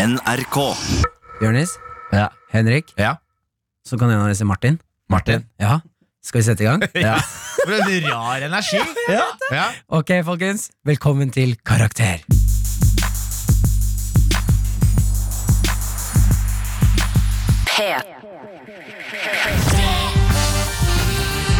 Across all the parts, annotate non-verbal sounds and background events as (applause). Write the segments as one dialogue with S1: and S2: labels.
S1: NRK.
S2: Jonis,
S3: Ja.
S2: Henrik,
S3: Ja.
S2: så kan en av dere si Martin.
S3: Martin.
S2: Ja, Skal vi sette i gang?
S3: Ja. For en
S2: (laughs)
S3: rar energi. Ja. Ja.
S2: Ok, folkens. Velkommen til Karakter.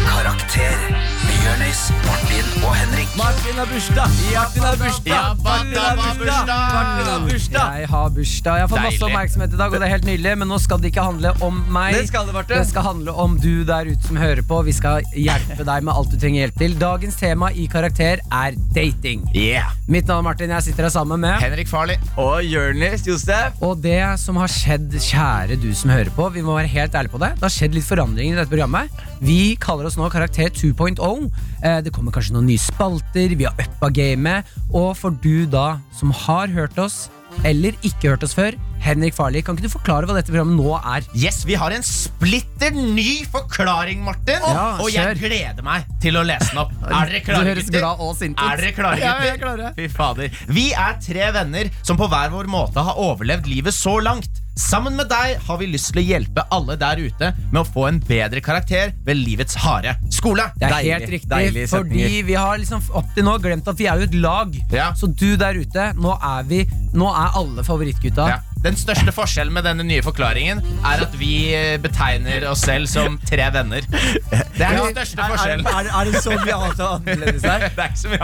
S1: Karakter med Jonis, Martin og Henrik.
S4: Martin har bursdag! Martin har bursdag!
S3: Ja,
S4: Martin har bursdag! Martin har bursdag!
S2: Jeg har bursdag. Jeg har fått masse
S3: Deilig.
S2: oppmerksomhet i dag, og det er helt nydelig, men nå skal det ikke handle om meg.
S4: Det skal det, Marte.
S2: Det skal handle om du der ute som hører på. Vi skal hjelpe deg med alt du trenger hjelp til. Dagens tema i Karakter er dating.
S3: Yeah.
S2: Mitt navn er Martin, jeg sitter her sammen med
S3: Henrik Farley.
S4: Og Jonis Josef.
S2: Og det som har skjedd, kjære du som hører på, vi må være helt ærlige på det. Det har skjedd litt forandringer i dette programmet. Vi kaller oss nå Karakter 2.0. Eh, Det kommer kanskje noen nye spalter, vi har uppa gamet. Og for du da som har hørt oss, eller ikke hørt oss før, Henrik Farley, kan ikke du forklare hva dette programmet nå er?
S3: Yes, Vi har en splitter ny forklaring, Martin.
S2: Ja,
S3: og jeg
S2: kjør.
S3: gleder meg til å lese den opp. Er dere klare,
S2: du høres
S3: gutter?
S2: glad og sint ut.
S3: Er dere klare,
S2: Ja, vi er
S3: gutter?
S2: klare.
S3: Fy fader. Vi er tre venner som på hver vår måte har overlevd livet så langt. Sammen med deg har vi lyst til å hjelpe alle der ute med å få en bedre karakter ved livets harde skole.
S2: Det er
S4: Deilig,
S2: helt riktig,
S4: deilig setninger.
S2: fordi vi har liksom opp til nå glemt at vi er jo et lag.
S3: Ja.
S2: Så du der ute, nå er vi Nå er alle favorittgutta.
S3: Ja. Den største forskjellen med denne nye forklaringen er at vi eh, betegner oss selv som tre venner. Det er den største
S4: Er,
S3: forskjellen.
S4: er, er det så mye annet annerledes
S3: (laughs) Det
S4: her?
S3: er ikke så mye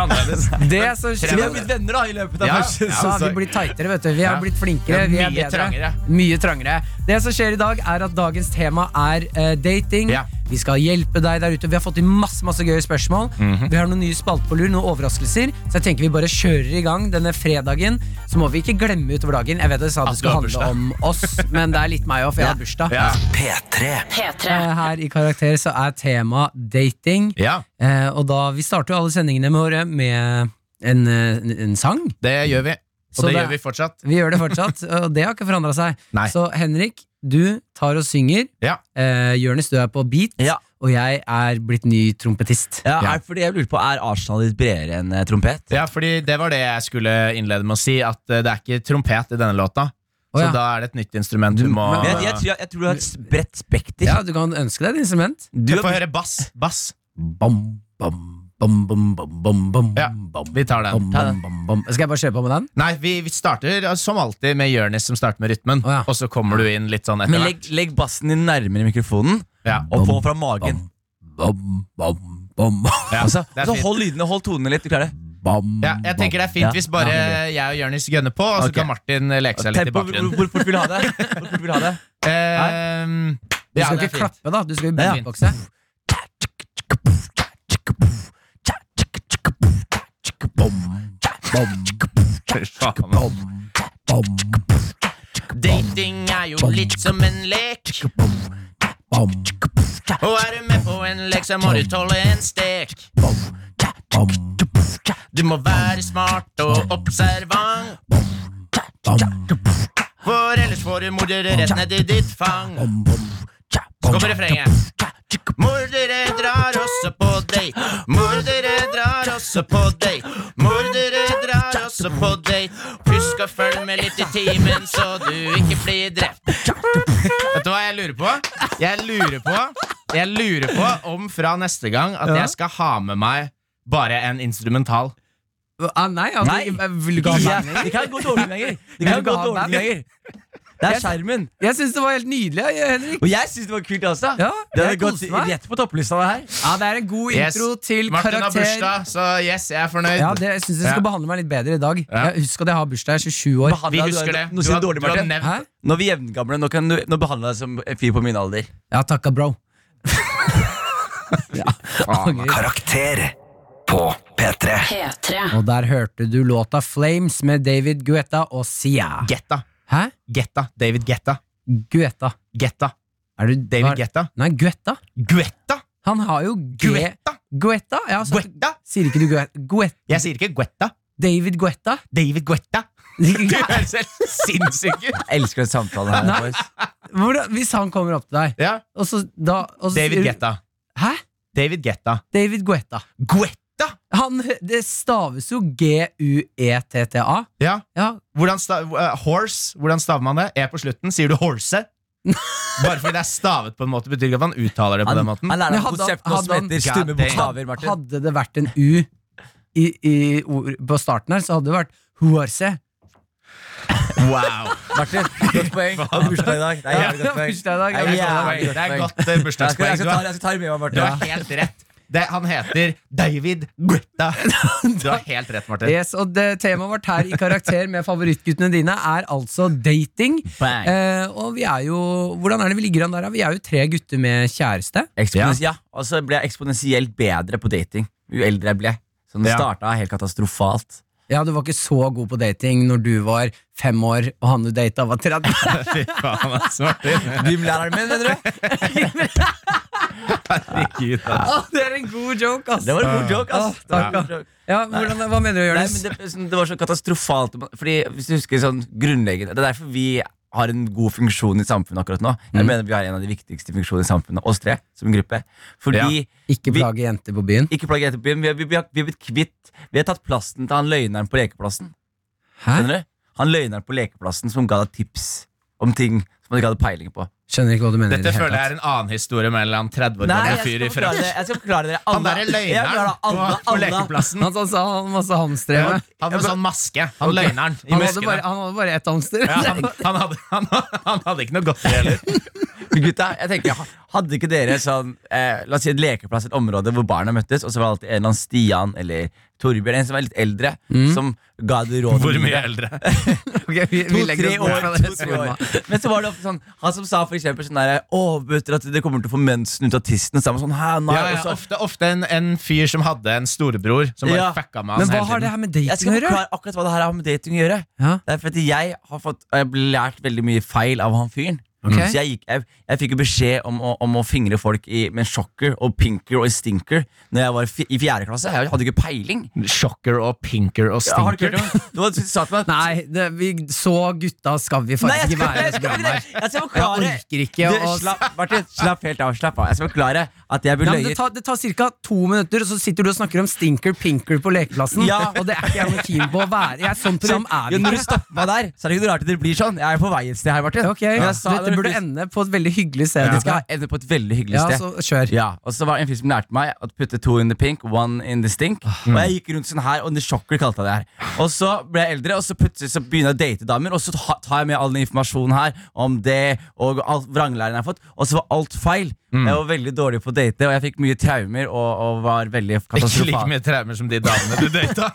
S2: Det som
S3: annerledes. Tre
S4: Så Vi
S2: skjer
S4: har blitt venner da i løpet av
S3: Ja,
S4: første
S3: ja.
S2: Så har altså, vi
S3: sagt.
S2: blitt tightere, vet du. Vi har
S3: Ja.
S2: blitt flinkere.
S3: Ja,
S2: vi er
S3: mye
S2: bedre.
S3: trangere.
S2: Mye trangere. Det som skjer i dag, er at dagens tema er eh, dating.
S3: Ja.
S2: Vi skal hjelpe deg der ute. Vi har fått inn masse masse gøye spørsmål.
S3: Mhm.
S2: Vi har noen nye spalter på lur, noen overraskelser. Så jeg tenker vi bare kjører i gang denne fredagen. Så må vi ikke glemme utover dagen. Jeg vet jeg sa det
S3: At
S2: skulle
S3: du har
S2: handle om oss, men det er litt meg òg, for jeg har bursdag.
S3: Ja.
S1: P3.
S2: Eh, Her i Karakter så er tema dating.
S3: ja,
S2: Eh, og da, Vi starter jo alle sendingene våre med en, eh, en, en sang.
S3: det gjør vi. Og
S2: Så
S3: det
S2: det-
S3: gjør vi fortsatt.
S2: Vi gjør det
S3: (laughs)
S2: fortsatt, og det har ikke forandra seg.
S3: Nei.
S2: Så Henrik, du tar og synger.
S3: Ja.
S2: Eh, Jonis, du er på beat,
S4: Ja.
S2: og jeg er blitt ny trompetist.
S4: Ja, er, fordi jeg lurer på, er Arsenal litt bredere enn eh, trompet?
S3: Ja, fordi Det var det jeg skulle innlede med å si, at eh, det er ikke trompet i denne låta.
S2: Å, ja.
S3: Så da er det et nytt instrument du må
S4: Men jeg, jeg, tror- jeg, jeg tror du har et s- bredt spekter.
S2: Ja, Du kan ønske deg et instrument.
S4: Du
S3: Få
S4: har,
S3: høre bass. bass.
S2: Bom, bom, bom, bom, bom, bom, bom,
S3: Ja,
S2: bom,
S3: Vi tar den.
S2: bom, bom, bom, bom. Skal jeg bare kjøre på med den?
S3: Nei, vi, vi starter eh, som alltid med Jonis, som starter med rytmen.
S2: Å, ja.
S3: Og så kommer du inn litt sånn etter
S4: men legg,
S3: hvert.
S4: legg bassen din nærmere mikrofonen,
S3: Ja.
S4: og få den fra magen.
S2: Bom, bom, bom,
S3: Ja,
S4: Altså,
S3: det er
S4: altså
S3: fint.
S4: Hold lydene, hold tonene litt. Du klarer det.
S2: bom.
S3: Ja, jeg tenker det er fint
S4: Ja.
S3: hvis bare jeg og Jonis gønner på, og så
S4: Ok.
S3: kan Martin eh, leke seg litt i
S4: Tempo, hvor,
S3: bakgrunnen.
S4: hvor fort vil du ha det? Hvor fort vil du ha det?
S3: Ehm,
S2: Du
S3: ja,
S2: skal
S3: det er
S2: ikke
S3: fint.
S2: klappe, da. Du skal jo
S4: Ja, ja.
S2: beatboxe.
S3: Dating er jo litt som en lek. Og er du med på en lek, så må du tåle en stek. Du må være smart og observant. For ellers får du mordere rett ned i ditt fang. Så kommer refrenget. Mordere drar også på date. Mordere drar også på date. Mordere drar også på date. Husk å følge med litt i timen, så du ikke blir drept. Vet du hva jeg lurer på? Jeg lurer på Jeg lurer på om fra neste gang at jeg skal ha med meg bare en instrumental.
S2: Ah, nei, altså,
S4: Nei.
S2: jeg- jeg vil du ikke ha
S4: Det
S2: band?
S4: kan gå dårlig lenger. Det
S2: Vil
S4: kan
S2: du
S4: gå
S2: ikke ha
S4: dårlig
S2: band?
S4: lenger. Det er skjermen.
S2: Jeg syns det var helt nydelig, Henrik.
S4: Og jeg syns det var kult også.
S2: Ja,
S4: det hadde
S2: jeg
S4: gått
S2: koste meg.
S4: rett på topplista, det her.
S2: Ja, Det er en god
S3: Yes.
S2: intro til
S3: Martin har
S2: karakter.
S3: bursdag, så yes, jeg er fornøyd.
S2: Ja, det, jeg syns dere skal
S3: Ja.
S2: behandle meg litt bedre i dag.
S3: Ja.
S2: Jeg Husk at jeg har bursdag, jeg er 27 år.
S4: Behandla
S3: Vi
S4: du-
S3: husker det.
S4: Nå sier du
S3: har-
S4: dårlig,
S3: har
S4: Martin.
S3: nevnt
S2: Hæ?
S4: Nå er vi jevngamle. Nå, kan du, nå behandler jeg deg som en fyr på min alder.
S2: Ja, takka,
S3: (laughs)
S2: bro.
S3: faen.
S2: Angrer.
S1: Karakter på P3.
S2: Og der hørte du låta Flames med David Guetta og Sia.
S3: Getta.
S2: Hæ?
S3: Getta. David Getta.
S2: Guetta.
S3: Getta.
S2: Er du
S3: David
S2: hva-
S3: Getta.
S2: Nei, Guetta.
S3: Guetta.
S2: Han har jo G...
S3: Guetta.
S2: Guetta? Ja, så,
S3: Guetta.
S2: sier ikke du Guetta? Guet
S3: Jeg sier ikke Guetta.
S2: David
S3: (laughs)
S2: Guetta?
S3: David Guetta. Du
S2: Hvordan,
S3: er selv sinnssyk ut.
S4: Jeg elsker den samtalen her.
S2: Nei.
S4: boys.
S2: hvis han kommer opp til deg,
S3: Ja.
S2: og så da og så,
S3: David
S2: sier du-
S3: Getta.
S2: Hæ?
S3: David Getta.
S2: David Guetta.
S3: Guetta!
S2: Han, det staves jo E G-U-E-T-T-A.
S3: Ja.
S2: Ja,
S3: Hvordan sta eh, horse, hvordan staver man det? E på slutten. Sier du horse? Bare fordi det er stavet på en måte, betyr ikke at man uttaler det på
S4: Han,
S3: den måten.
S4: han lærer
S2: Men
S4: om
S2: hadde-
S4: konseptet nå
S2: hadde
S4: som
S2: han-
S4: heter stumme
S3: God
S4: bokstaver, Martin.
S2: Hadde det vært en U i, i ord, på starten her, så hadde det vært Huarse.
S3: Wow.
S4: Martin, godt poeng. Du har bursdag i dag. Det er jævlig godt poeng.
S2: Bursdag i dag,
S4: Det er
S2: jævlig godt
S4: jævlig
S2: poeng.
S3: Det
S4: godt
S3: er
S4: poeng.
S3: godt eh,
S4: Jeg skal, jeg
S3: bursdagspoeng.
S4: skal
S3: Du
S4: ta
S3: har,
S4: det jeg skal ta det med meg,
S3: du
S4: Martin.
S3: har helt rett. Det, han heter David Guetta. Du har helt rett, Martin.
S2: Yes, og det Temaet vårt her i Karakter med favorittguttene dine er altså dating.
S4: Bang.
S2: Eh, og vi er jo Hvordan er det vi ligger an der, da? Vi er jo tre gutter med kjæreste.
S4: Eksponens- ja. og så ble jeg eksponentielt bedre på dating jo eldre jeg ble. Så det
S3: Ja.
S4: starta helt katastrofalt.
S2: Ja, du var ikke så god på dating når du var fem år og han du data, var
S4: (laughs)
S2: 30.
S3: Fy faen, ass, Martin.
S4: Gymlæreren min, mener du?
S3: Herregud, ass.
S2: Å, det er en god joke, ass!
S4: (laughs) Det var en god joke, ass.
S2: Åh,
S4: Det var en
S2: takk,
S4: god joke.
S2: Ja, hvordan, Hva mener du,
S4: Nei,
S2: Jonis?
S4: men det, sånn, det var så katastrofalt. Fordi hvis du husker sånn grunnleggende Det er derfor vi har en god funksjon i samfunnet akkurat nå. Jeg mener Vi har en av de viktigste funksjonene i samfunnet, oss tre som gruppe. Fordi
S2: Ikke
S4: vi-
S2: plage jenter på byen.
S4: Ikke plagg etter byen. Vi, vi, vi, har, vi har blitt kvitt Vi har tatt plassen til han løgneren på lekeplassen.
S2: Hæ?
S4: Skjønner du? Han løgneren på lekeplassen som ga deg tips om ting som han ikke hadde peiling på.
S2: Skjønner ikke hva du mener. i
S3: Dette
S2: det hele
S3: føler jeg
S2: tatt.
S3: er en annen historie mellom 30 år
S4: Nei,
S3: gammel
S4: jeg
S3: fyr
S4: skal
S3: i
S4: forklare
S3: Frankrike.
S4: dere- jeg skal forklare dere
S3: Han
S4: alle.
S3: derre
S4: Jeg forklarer
S3: løgneren
S4: alle,
S3: på- på
S4: alle.
S3: lekeplassen.
S2: Han sa han hadde masse hamstere.
S3: Ja,
S2: med.
S3: Han med sånn maske. Han løgneren i
S2: Han hadde,
S3: muskene.
S2: bare, han hadde bare ett hamster.
S3: Ja, han, han, hadde, han, han hadde ikke noe godteri heller.
S4: Gutta, jeg tenker, ha- hadde ikke dere sånn eh, La oss si et lekeplass, et område hvor barna møttes, og så var det alltid en eller annen Stian eller Torbjørn, en som var litt eldre, som ga det råd
S3: Mm. Hvor mye eldre?
S2: (laughs) Ok, vi, vi legger
S4: To-tre
S2: oss bort
S4: år,
S2: fra det
S4: to-tre
S2: sporet.
S4: år.
S3: (laughs)
S4: Men så var det ofte sånn Han som sa for eksempel sånn der Å, vet dere at dere kommer til å få mensen ut av tissen? Og så er man sånn, hæ, nei
S3: Ja, ja,
S4: og så,
S3: ofte ofte en, en fyr som hadde en storebror som bare
S4: Ja.
S3: fucka med
S2: Men
S3: han
S2: hva har
S3: hele
S2: det
S3: tiden.
S2: her med
S4: Jeg
S2: dating å
S4: skal
S2: gjøre?
S4: forklare akkurat hva det her har med dating å gjøre.
S2: Ja.
S4: Det er fordi jeg har fått og Jeg ble lært veldig mye feil av han fyren.
S2: Ok.
S4: Så jeg, gikk, jeg, jeg fikk jo beskjed om, å- om å fingre folk i, med en shocker og pinker og en stinker Når jeg var fi, i fjerde klasse. Jeg hadde ikke peiling.
S3: Shocker og pinker og
S4: Ja, har du
S3: stinker.
S4: ikke hørt om Du hadde sa til meg
S2: Nei, det, vi, så gutta skal vi
S4: Nei,
S2: faktisk
S4: jeg
S2: ikke
S4: skal,
S2: være i
S4: jeg,
S2: dette
S4: skal,
S2: programmet
S4: jeg,
S2: her.
S4: jeg skal
S2: Jeg
S4: forklare
S2: orker ikke
S4: du,
S2: å
S4: slapp, Martin, slapp helt av. Slapp av. Jeg skal forklare at jeg ble
S2: ja, men
S4: løyet.
S2: det tar, det tar ca. to minutter, og så sitter du og snakker om stinker-pinker på lekeplassen.
S4: Ja.
S2: Og det er ikke jeg noe keen på å være. Jeg, sånn program er
S4: Jo,
S2: vi
S4: når du
S2: ikke.
S4: stopper meg der, så er det ikke noe rart at det blir sånn. Jeg er på vei et sted her, Martin.
S2: Ok,
S4: Men jeg sa-
S2: Dette burde ende på et veldig hyggelig sted.
S4: Det skal ende på et veldig hyggelig
S2: Ja, altså,
S4: sted.
S2: så kjør.
S4: (laughs) Ja, og så var det en fyr som lærte meg å putte to in the pink, one in the stink.
S3: Ah.
S4: Og
S3: Mm.
S4: jeg gikk rundt sånn her, og the shocker kalte jeg det her. Og så ble jeg eldre, og så plutselig så begynner jeg å date damer, og så ta- tar jeg med all den informasjonen her om det, og alt vranglæren jeg har fått, og så var alt feil.
S3: Mm.
S4: Jeg var veldig dårlig på å date, og jeg fikk mye traumer, og, og var veldig
S3: Ikke like
S4: katastrofal.
S3: mye traumer som de damene du data.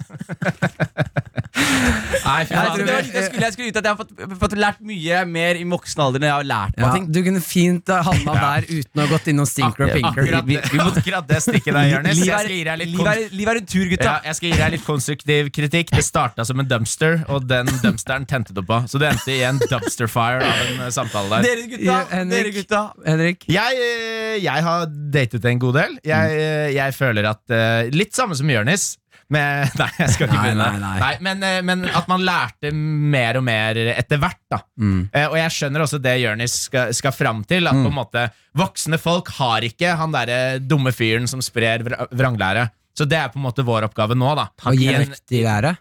S3: Nei, fy
S4: Jeg, tror det var
S3: faen.
S4: dit jeg, skulle, jeg skulle ut at jeg har fått, fått lært mye mer i voksen alder når jeg har lært meg
S2: Ja,
S4: ting.
S2: du kunne fint ha havna der uten å ha gått innom stinker og pinker.
S3: Akkurat, det- akkurat det stikket der, Jonis. Jeg
S4: Livet
S3: skal gi
S4: er,
S3: deg litt
S4: livet er, livet er en tur, gutta.
S3: Ja, jeg skal gi deg litt konstruktiv kritikk. Det starta som en dumpster, og den dumpsteren tente du på. Så det endte i en dumpster fire av en eh, samtale der.
S4: Dere gutta,
S2: Ja, Henrik.
S4: dere gutta.
S2: Henrik?
S3: Jeg, eh, jeg har datet en god del. Jeg,
S2: Mm.
S3: eh, jeg føler at eh, Litt samme som Jonis. Men, (laughs) nei, jeg skal ikke
S2: Nei,
S3: begynne.
S2: nei, nei.
S3: men, eh, men at man lærte mer og mer etter hvert. da
S2: Mm.
S3: Eh, Og jeg skjønner også det Jonis skal, skal fram til. At på en måte voksne folk har ikke han derre dumme fyren som sprer vra- vranglære. Så det er på en måte vår oppgave nå. da
S2: Å gi
S3: I en-
S2: riktig lære.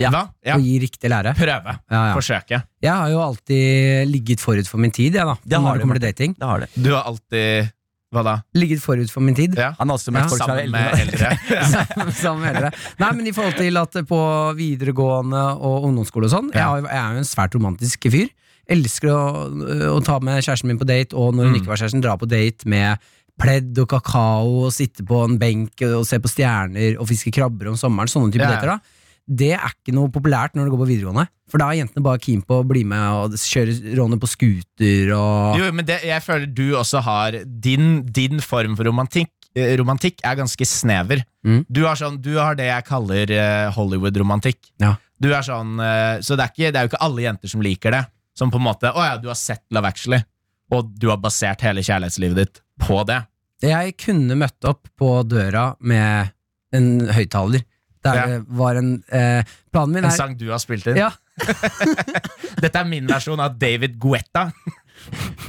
S3: Hva? Ja.
S2: Å gi riktig lære.
S3: Prøve.
S2: Ja, ja.
S3: Forsøke.
S2: Jeg har jo alltid ligget forut for min tid, jeg, da.
S4: Det har
S2: når
S4: du,
S2: det kommer til dating.
S4: Det har det.
S3: Du har alltid Hva da?
S2: Ligget forut for min tid. (laughs)
S3: Ja.
S4: Han har også møtt
S2: Ja,
S4: folk som er
S3: Sammen
S4: eldre.
S3: med eldre.
S2: Sammen med dere. Nei, men i forhold til at eh, på videregående og ungdomsskole og sånn jeg,
S3: Ja.
S2: har jo- jeg er jo en svært romantisk fyr. Elsker å, å ta med kjæresten min på date, og
S3: Mm.
S2: når hun ikke var kjæresten, dra på date med pledd og kakao og sitte på en benk og se på stjerner og fiske krabber om sommeren. Sånne type
S3: Ja, ja.
S2: dater. da det er ikke noe populært når du går på videregående. For da er jentene bare keen på å bli med og kjøre råne på scooter og
S3: (laughs) Jo, men det, jeg føler du også har Din, din form for romantikk eh, Romantikk er ganske snever.
S2: Mm.
S3: Du, har sånn, du har det jeg kaller eh, Hollywood-romantikk.
S2: Ja.
S3: Du er sånn, eh, Så det er, ikke, det er jo ikke alle jenter som liker det. Som på en måte Å ja, du har sett Love Actually, og du har basert hele kjærlighetslivet ditt på det.
S2: Jeg kunne møtt opp på døra med en høyttaler. Der
S3: Ja.
S2: det var en eh, Planen min
S3: En
S2: er
S3: (laughs) sang du har spilt inn.
S2: Ja.
S3: Dette er min versjon av David Guetta.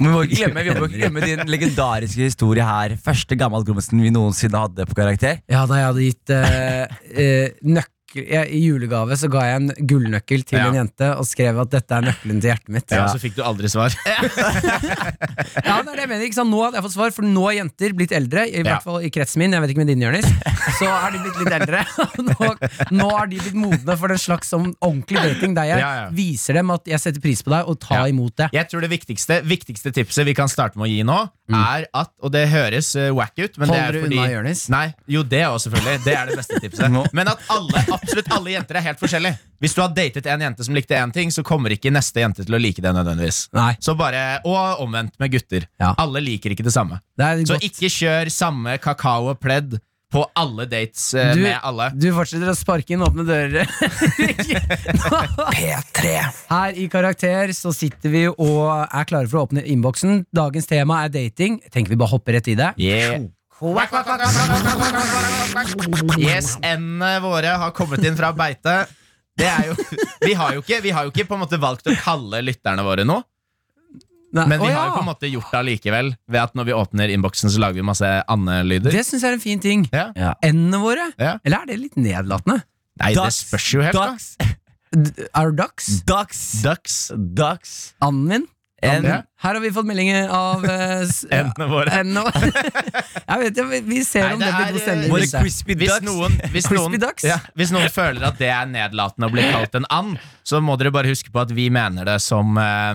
S4: Men Vi må ikke glemme, vi må ikke glemme din legendariske historie her. Første gammel grommisen vi noensinne hadde på karakter.
S2: Ja, da jeg hadde gitt eh, eh, nøkkel jeg, I julegave så ga jeg en gullnøkkel til
S3: Ja.
S2: en jente og skrev at dette er nøkkelen til hjertet mitt.
S3: Ja, så fikk du aldri svar.
S2: Ja, det er det jeg mener, ikke sant? Nå hadde jeg fått svar, for nå er jenter blitt eldre. I
S3: Ja.
S2: hvert fall i kretsen min, jeg vet ikke med din, Jonis. Så er de blitt litt eldre. (laughs) Nå, nå er de blitt modne for den slags sånn ordentlig dating, der jeg
S3: Ja, ja.
S2: viser dem at jeg setter pris på deg, og tar
S3: Ja.
S2: imot det.
S3: (laughs) Jeg tror det viktigste, viktigste tipset vi kan starte med å gi nå, er at Og det høres eh, wack ut, men
S2: Mm. Hold
S3: det er
S2: dere
S3: fordi
S2: unna, Jonis.
S3: Nei, Jo, det også, selvfølgelig. Det er det beste
S2: (laughs)
S3: tipset.
S4: Nå.
S3: Men at alle, absolutt alle jenter er helt forskjellige. Hvis du har datet en jente som likte én ting, så kommer ikke neste jente til å like det nødvendigvis.
S2: Nei,
S3: Så bare, Og omvendt med gutter.
S2: Ja.
S3: Alle liker ikke det samme.
S2: det er
S3: Så
S2: godt.
S3: ikke kjør samme kakao og pledd på alle dates eh,
S2: Du-
S3: med alle.
S2: Du fortsetter å sparke inn åpne
S3: (laughs)
S2: dører.
S1: P3.
S2: Her i Karakter så sitter vi og er klare for å åpne innboksen. Dagens tema er dating. Tenker vi bare hopper rett i det.
S3: Yeah. Yes, endene våre har kommet inn fra beite. Det er jo, vi, har jo ikke, vi har jo ikke på en måte valgt å kalle lytterne våre noe,
S2: Nei,
S3: men vi
S2: å
S3: har
S2: ja,
S3: jo på en måte gjort det allikevel. Ved at når vi åpner innboksen, så lager vi masse andelyder.
S2: Det syns jeg er en fin ting.
S3: Ja.
S2: Endene våre.
S3: Ja.
S2: Eller er det litt nedlatende?
S3: Nei, det
S4: Ducks.
S3: spørs jo helt, da.
S4: Ducks,
S2: D- Our
S3: Mm.
S2: ducks?
S4: ducks,
S3: Ducks.
S4: ducks.
S2: Anden min?
S4: En,
S3: Ja.
S2: Her har vi fått meldinger av eh, s-
S3: Endene våre.
S2: (laughs) endene våre. Jeg vet ikke, vi- vi ser
S3: Nei,
S2: om
S3: det
S2: det blir
S3: er, eh,
S2: god stemning.
S4: våre
S2: hvis det er.
S4: crispy
S3: Hvis
S4: ducks.
S3: noen, hvis,
S2: Crispy
S3: noen,
S2: ducks?
S3: ja, hvis noen føler at det er nedlatende å bli kalt en and, så må dere bare huske på at vi mener det som eh,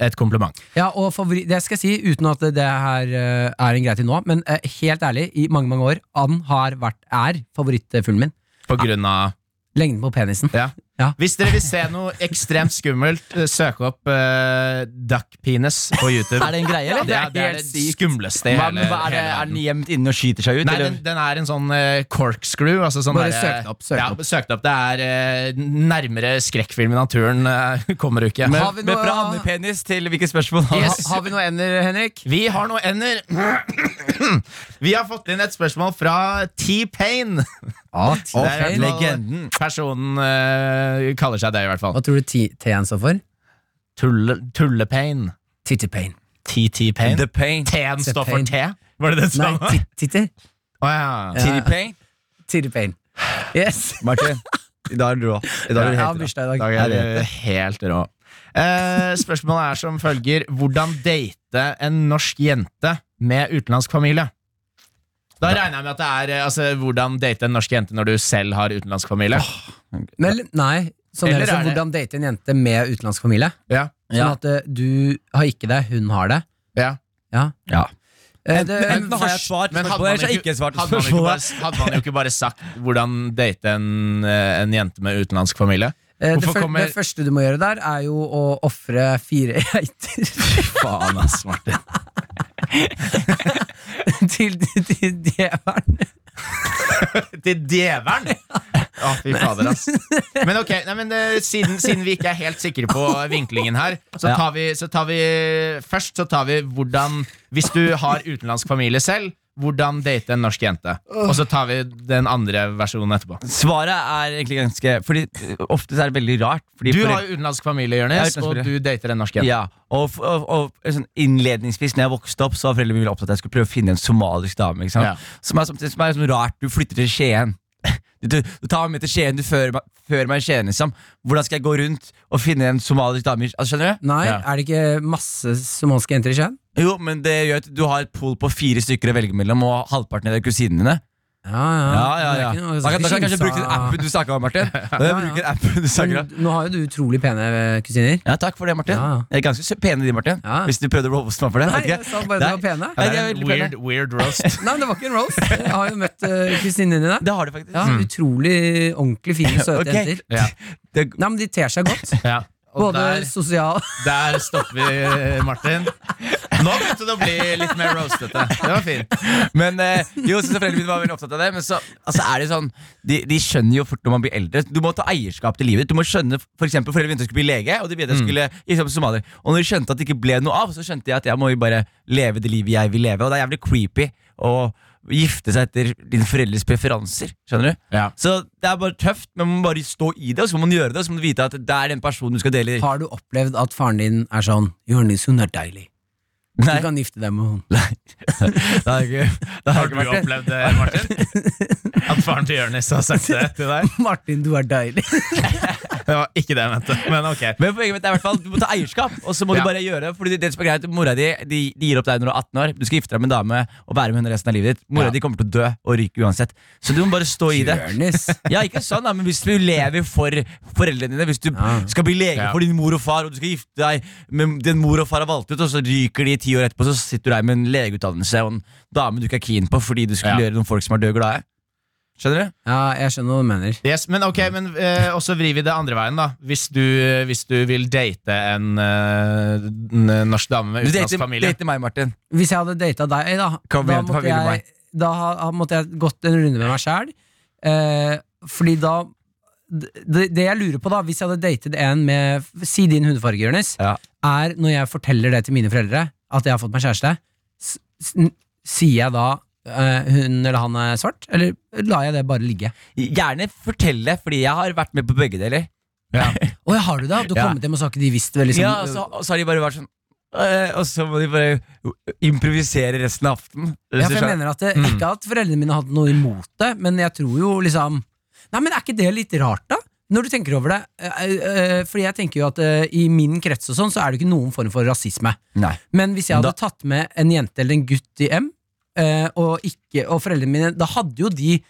S3: et kompliment.
S2: Ja, og favori, det skal jeg si, uten at det her eh, er en greie til nå, men eh, helt ærlig, i mange mange år, and har vært, er favorittfuglen min.
S3: På grunn av
S2: Lengden på penisen.
S3: Ja.
S2: Ja.
S3: Hvis dere vil se noe ekstremt skummelt, eh, søk opp uh, duck penis på YouTube.
S4: Er det en greie, eller?
S3: det er, det, er
S4: helt
S3: det
S4: sykt.
S3: skumleste i
S4: Hva,
S3: hele,
S4: men hva er, det,
S3: hele
S4: er
S3: verden.
S4: den gjemt inne og skyter seg ut?
S3: Nei,
S4: eller?
S3: den, den er en sånn eh, corkscrew. Altså sånn
S2: Bare
S3: der,
S2: søk den opp, søk den
S3: ja,
S2: opp.
S3: søk den opp. Det er eh, nærmere skrekkfilm i naturen eh, (laughs) kommer du ikke.
S4: Men,
S2: Har vi
S4: men
S2: noe-
S4: fra andepenis til hvilke spørsmål?
S2: Ha, har vi noe ender, Henrik?
S3: Vi har noe ender. (clears throat) Vi har fått inn et spørsmål fra T-Pain.
S2: Ja,
S3: Det er i hvert fall-
S4: Legenden.
S3: Personen eh, kaller seg det, i hvert fall.
S2: Hva tror du ti- T-en står for?
S3: Tulle, tullepain.
S2: Tittepain.
S3: TT-pain.
S4: The pain.
S3: T-en står
S2: Pain.
S3: for T? Var det det
S2: Nei,
S3: samme?
S2: ti- titter.
S3: Å, ja.
S4: Titty pain.
S2: Tittepain. Yes.
S4: Martin, i dag er du rå. I dag er du
S2: Jeg har
S4: helt rå.
S2: bursdag i dag.
S3: Da er du helt rå. Eh, spørsmålet er som følger Hvordan date en norsk jente med utenlandsk familie? Da regner jeg med at det er eh, altså, hvordan date en norsk jente når du selv har utenlandsk familie.
S2: Men, nei, sånn
S3: Eller
S2: er det som
S3: er det-
S2: hvordan date en jente med utenlandsk familie.
S3: Ja.
S2: Sånn at eh, du har ikke det, hun har det.
S3: Ja.
S2: Ja.
S4: Ja.
S2: Eh,
S4: Enten,
S2: det-
S4: enten har jeg
S2: først-
S4: svart
S3: Men hadde
S4: spørsmålet,
S3: man
S4: eller så har jeg
S3: ikke-
S4: ikke svart
S3: Hadde man, ikke
S4: spørsmålet.
S3: bare, hadde man jo ikke bare sagt 'hvordan date en, eh, en jente med utenlandsk familie'?
S2: Eh, Det,
S3: Hvorfor
S2: fyr-
S3: kommer-
S2: det første du må gjøre der, er jo å ofre fire (laughs) geiter
S3: Faen, ass, Martin.
S2: (laughs) til, til djevelen.
S3: Til djevelen! (laughs) Å, fy fader, ass. Men ok, nei, men, eh, siden, siden vi ikke er helt sikre på vinklingen her, så
S4: Ja.
S3: tar vi, så tar vi Først så tar vi hvordan Hvis du har utenlandsk familie selv, hvordan date en norsk jente? Og så tar vi den andre versjonen etterpå.
S4: Svaret er egentlig ganske Fordi eh, ofte så er det veldig rart. Fordi
S3: Du
S4: foreldre-
S3: har jo utenlandsk familie,
S4: Jeg har
S3: Jonis,
S4: utenlandsk
S3: og du
S4: familie.
S3: dater en norsk jente.
S4: Ja, og, f- og, og sånn Innledningsvis når jeg vokste opp, Så var foreldrene mine opptatt av at jeg skulle prøve å finne en somalisk dame. Ikke sant?
S3: Ja.
S4: Som er, samtidig- som er sånn rart. Du flytter til Skien. (laughs) Du, du, du tar meg med til Skien, du fører meg, fører meg i Skien. Liksom. Hvordan skal jeg gå rundt og finne en somalisk dame? i- Altså, skjønner du?
S2: Nei,
S3: Ja.
S2: er det ikke masse somaliske jenter i Skien?
S4: Jo, men det gjør at Du har et pool på fire stykker å velge mellom, og halvparten er kusinene dine.
S2: Ja,
S4: Ja, ja,
S2: Det er
S4: ja.
S2: ikke noe-
S4: Da kan, da kan jeg
S2: Kinsa-
S4: kanskje bruke den appen du snakka om, Martin. Da kan jeg
S2: (laughs) Ja, ja.
S4: bruke den appen du snakker om
S2: Men Nå har jo du utrolig pene kusiner.
S4: Ja, takk for det, Martin.
S2: Ja, ja.
S4: Jeg er ganske sø- pene, de, Martin.
S2: Ja.
S4: Hvis du prøvde å roaste meg for det.
S2: Nei,
S4: vet ikke.
S2: jeg sa bare de var
S4: Nei.
S2: pene.
S4: Nei, de
S3: Det
S4: er
S3: er en
S4: veldig
S3: weird,
S4: pene.
S3: weird
S4: (laughs)
S3: roast.
S2: Nei, men det var ikke en rose. Jeg har jo møtt uh, kusinene dine.
S4: Det har de faktisk.
S2: Ja, Utrolig ordentlig fine, søte
S4: Ok.
S2: jenter.
S3: Ja.
S4: Det,
S2: Nei, men de ter seg (laughs) godt.
S3: Ja. Og
S2: Både
S3: der-
S2: (laughs) sosial
S3: Der stopper vi, eh, Martin. Nå begynte det å bli litt mer roastete. Det var fint.
S4: men eh, jo, så foreldrene mine var veldig opptatt av det. Men så altså, er det sånn de, de skjønner jo fort når man blir eldre. Du må ta eierskap til livet. Du må skjønne for eksempel, Foreldrene mine skulle bli lege, og de ville jeg skulle liksom, somalier. Og når de skjønte at det ikke ble noe av, så skjønte jeg at jeg må jo bare leve det livet jeg vil leve. Og det er jævlig creepy å gifte seg etter dine foreldres preferanser. Skjønner du?
S3: Ja.
S4: Så det er bare tøft, men man må bare stå i det, og så må man gjøre det. Og så må du vite at det er den personen du skal dele
S2: Har du opplevd at faren din er sånn 'Jonis, hun er deilig'? Du
S4: Nei.
S2: kan gifte deg med hun. (laughs)
S4: Det har jeg ikke, det har jeg
S3: Har du
S4: ikke vært det.
S3: opplevd det, Martin? (laughs) At faren til Jonis har sagt det til deg?
S2: Martin, du er deilig.
S3: Det var ikke det jeg mente, men ok.
S4: Men poenget mitt er i hvert fall du må ta eierskap, og så må
S3: Ja.
S4: du bare gjøre det. Fordi det som er greit, Mora di de, de gir opp deg når du er 18 år. Du skal gifte deg med en dame og være med henne resten av livet ditt. Mora
S3: Ja.
S4: di kommer til å dø og ryke uansett. Så du må bare stå i det.
S2: Jonis.
S4: Ja, ikke sånn da, men Hvis du lever for foreldrene dine, hvis du
S2: Ja.
S4: skal bli lege
S3: Ja.
S4: for din mor og far, og du skal gifte deg med den mor og far har valgt ut, og så ryker de ti år etterpå, så sitter du der med en legeutdannelse og en dame du ikke er keen på fordi du skulle
S3: Ja.
S4: gjøre noen folk som er død glade. Skjønner du?
S2: Ja, jeg skjønner hva du mener.
S3: Yes, men ok, men eh, også vrir vi det andre veien, da. Hvis du, eh, hvis du vil date en, eh, n- norsk dame med
S4: Du
S3: utenlandsk
S4: dater,
S3: familie
S4: dater meg, Martin.
S2: Hvis jeg hadde data deg, da,
S4: Kom
S2: da,
S4: igjen, hva
S2: måtte
S4: vil du meg?
S2: jeg, da ha- ha- måtte jeg gått en runde med meg sjæl. Eh, fordi da det, det jeg lurer på, da, hvis jeg hadde datet en med Si din hundefarge, Jonis,
S4: Ja.
S2: er når jeg forteller det til mine foreldre, at jeg har fått meg kjæreste, s s n- sier jeg da eh, hun eller han er svart, eller lar jeg det bare ligge?
S4: Gjerne fortell det, fordi jeg har vært med på begge deler.
S2: Å, ja, har du det? Du har
S4: Ja.
S2: kommet hjem, og så har ikke de visst det? Liksom.
S4: Ja, og så, og så har de bare vært sånn øh, Og så må de bare improvisere resten av aftenen.
S2: Ja, for jeg mener at det, Ikke
S4: Mm.
S2: at foreldrene mine hadde noe imot det, men jeg tror jo liksom Nei, men Er ikke det litt rart, da? Når du tenker over det. Eh, eh, Fordi jeg tenker jo at eh, i min krets og sånn, så er det ikke noen form for rasisme.
S4: Nei.
S2: Men hvis jeg
S4: Da-
S2: hadde tatt med en jente eller en gutt i M, eh, og, ikke, og foreldrene mine Da hadde jo de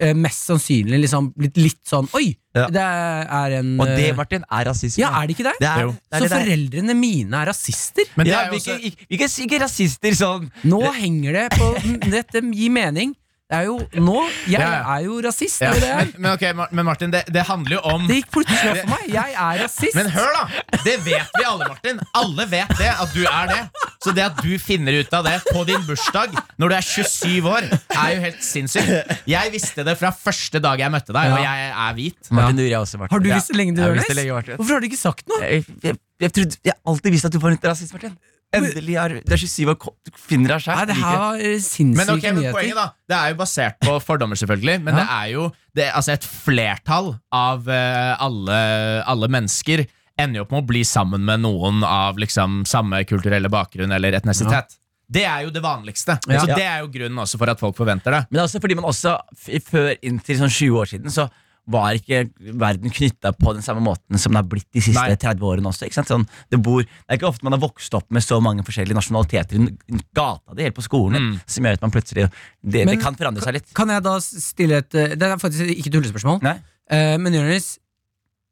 S2: eh, mest sannsynlig liksom blitt litt sånn Oi!
S4: Ja.
S2: Det er en
S4: Og det,
S2: eh,
S4: Martin, er rasisme.
S2: Ja, er det ikke det?
S4: det er,
S3: Jo.
S4: det er
S2: så
S4: det det er.
S2: foreldrene mine er rasister?
S3: Men det
S4: ja,
S3: er jo
S4: vi,
S3: også,
S4: ikke, ikke, ikke, ikke rasister sånn.
S2: Nå henger det på Dette gir mening. Det er jo nå Jeg
S3: Ja, ja.
S2: er jo rasist.
S3: ja,
S2: det er jo det jeg
S3: men,
S2: er.
S3: men, ok, Mar- men Martin, det, det handler jo om
S2: Det gikk plutselig opp for meg. Jeg er rasist.
S3: Men hør, da! Det vet vi alle, Martin. Alle vet det, at du er det. Så det at du finner ut av det på din bursdag når du er 27 år, er jo helt sinnssykt. Jeg visste det fra første dag jeg møtte deg, og jeg er hvit.
S4: Martin, det gjorde jeg også. Martin.
S2: har du
S4: Ja.
S2: visst det lenge, du,
S4: Jeg har
S2: Jonis?
S4: visst det lenge, Martin.
S2: Hvorfor har du ikke sagt noe?
S4: Jeg, jeg, jeg, trodde, jeg har alltid visst at du var en rasist, Martin. Endelig er du er 27 og kom- du finner deg
S2: Nei,
S4: sjæl.
S2: det her var eh,
S3: Men, ok,
S2: sinnssyke
S3: men poenget
S2: nyheter.
S3: da Det er jo basert på fordommer, selvfølgelig. Men
S2: Ja.
S3: det er jo det, er- altså et flertall av eh, alle, alle mennesker ender jo opp med å bli sammen med noen av liksom samme kulturelle bakgrunn eller etnisitet. Det er jo det vanligste.
S2: Ja.
S3: Så Det er jo grunnen også for at folk forventer det.
S4: Men det er også fordi man også f- før inntil sånn 20 år siden så var ikke verden knytta på den samme måten som den har blitt de siste
S3: Nei.
S4: 30 årene også. Ikke sant? Sånn, det, bor, det er ikke ofte man har vokst opp med så mange forskjellige nasjonaliteter i n- gata di, helt på skolen, som gjør at man plutselig Det,
S2: Men-
S4: det kan forandre seg litt.
S2: Kan jeg da stille et eh, Det er faktisk ikke et tullespørsmål.
S4: Nei?
S2: Eh, men Jonis,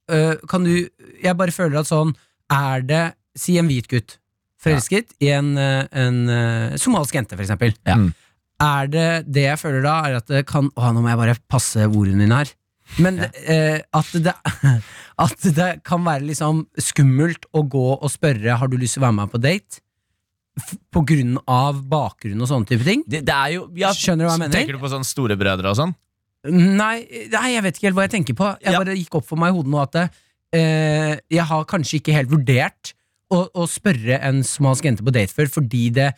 S2: eh, kan du Jeg bare føler at sånn Er det Si en hvit gutt forelsket i en, eh, en eh, somalisk jente, for eksempel.
S4: Ja.
S3: Mm.
S2: Er det det jeg føler da, er at det kan Å, nå må jeg bare passe ordene mine her. Men eh, at, det, (laughs) at det kan være liksom skummelt å gå og spørre Har du lyst til å være med meg på date. F på grunn av bakgrunn og sånne type ting.
S4: Det, det er jo ja,
S2: Skjønner du hva jeg mener?
S3: Tenker du på sånne storebrødre og sånn?
S2: Nei, nei, jeg vet ikke helt hva jeg tenker på. Jeg
S4: Ja.
S2: bare gikk opp for meg i hodet nå at eh, jeg har kanskje ikke helt vurdert å, å spørre en somalisk jente på date før, fordi det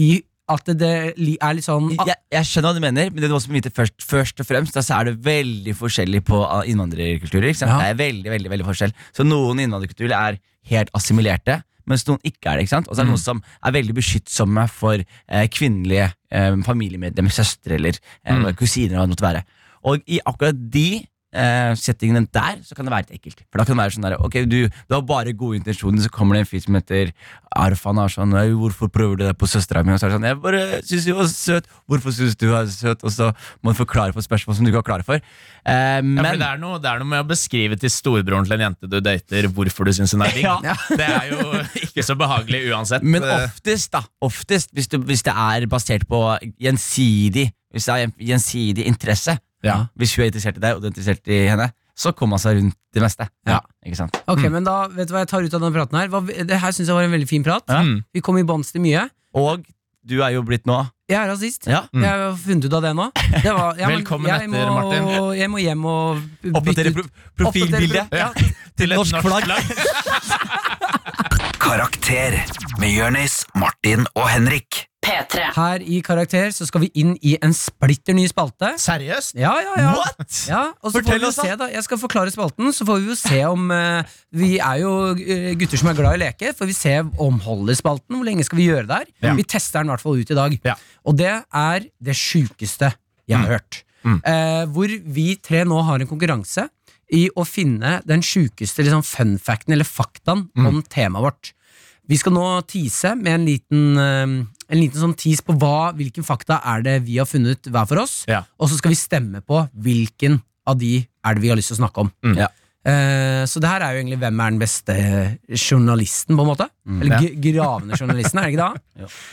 S2: i, At det li- er litt sånn
S4: jeg, jeg skjønner hva du mener, men det du også må vite først, først og fremst, da, så er det veldig forskjellig på ah, innvandrerkulturer. Ikke sant?
S2: Ja.
S4: Det er veldig, veldig, veldig forskjell. Så noen innvandrerkulturer er helt assimilerte, mens noen ikke er det. ikke sant? Og så er det
S3: Mm.
S4: noen som er veldig beskyttsomme for eh, kvinnelige eh, familiemedlemmer, søstre eller eh,
S3: Mm.
S4: kusiner. Hva det måtte være. Og i akkurat de eh, settingene der, så kan det være litt ekkelt. For da kan det være sånn der, ok, du, du har bare gode intensjoner, så kommer det en fyr som heter Arfan og er sånn, «Nei, hvorfor prøver du det på søstera mi? Og så er det sånn, jeg bare synes du var søt, hvorfor synes du er søt? Og så må du forklare på spørsmål som du ikke var klar for. Eh,
S3: Ja,
S4: men
S3: for det, er noe, det er noe med å beskrive til storebroren til en jente du dater, hvorfor du syns hun er
S2: (laughs)
S3: digg.
S4: Ja.
S3: Det er jo ikke så behagelig uansett.
S4: Men
S3: Eh,
S4: oftest, da. Oftest, hvis, du, hvis det er basert på gjensidig Hvis det er gjensidig interesse.
S3: Ja.
S4: Hvis hun er interessert i deg, og du er interessert i henne, så kommer man seg rundt det meste.
S2: Ja.
S4: Ikke sant?
S2: Ok, men da vet du hva jeg tar ut av denne praten her? Hva, det her syns jeg var en veldig fin prat.
S3: Mm.
S2: Vi kom i bånds til mye.
S4: Og du er jo blitt nå Mm.
S2: Jeg er rasist.
S4: Ja.
S2: Jeg har funnet ut av det nå. Det var, ja, men
S3: Velkommen
S2: jeg må,
S3: etter, Martin.
S2: Jeg må hjem og
S4: Oppdatere pro profilbildet
S2: Oppdatere pro- ja.
S4: til et norsk flagg.
S1: Karakter med Jørnis, Martin og Henrik.
S5: P3. P3.
S2: Her i Karakter så skal vi inn i en splitter ny spalte.
S3: Seriøst?
S2: Ja, ja, ja.
S4: What?!
S2: Ja, og så
S4: Fortell
S2: får vi jo
S4: oss da.
S2: se da Jeg skal forklare spalten, så får vi jo se om eh, Vi er jo eh, gutter som er glad i leke Får vi se om holder spalten Hvor lenge skal vi gjøre det her
S3: Ja.
S2: Vi tester den i hvert fall ut i dag
S3: Ja.
S2: Og det er det sykeste jeg
S4: Mm.
S2: har hørt eh, Hvor vi tre nå har en konkurranse I å finne den sykeste liksom, fun facten Eller faktaen
S4: Mm.
S2: om temaet vårt Vi skal nå tease med en liten eh, en liten sånn tease på hva, hvilken fakta er det vi har funnet hver for oss
S3: Ja.
S2: og så skal vi stemme på hvilken av de er det vi har lyst til å snakke om.
S3: Mm.
S4: Ja.
S2: Eh, så det her er jo egentlig hvem er den beste journalisten, på en måte. Eller
S3: Ja.
S2: g- gravende journalisten, er det ikke (laughs) det?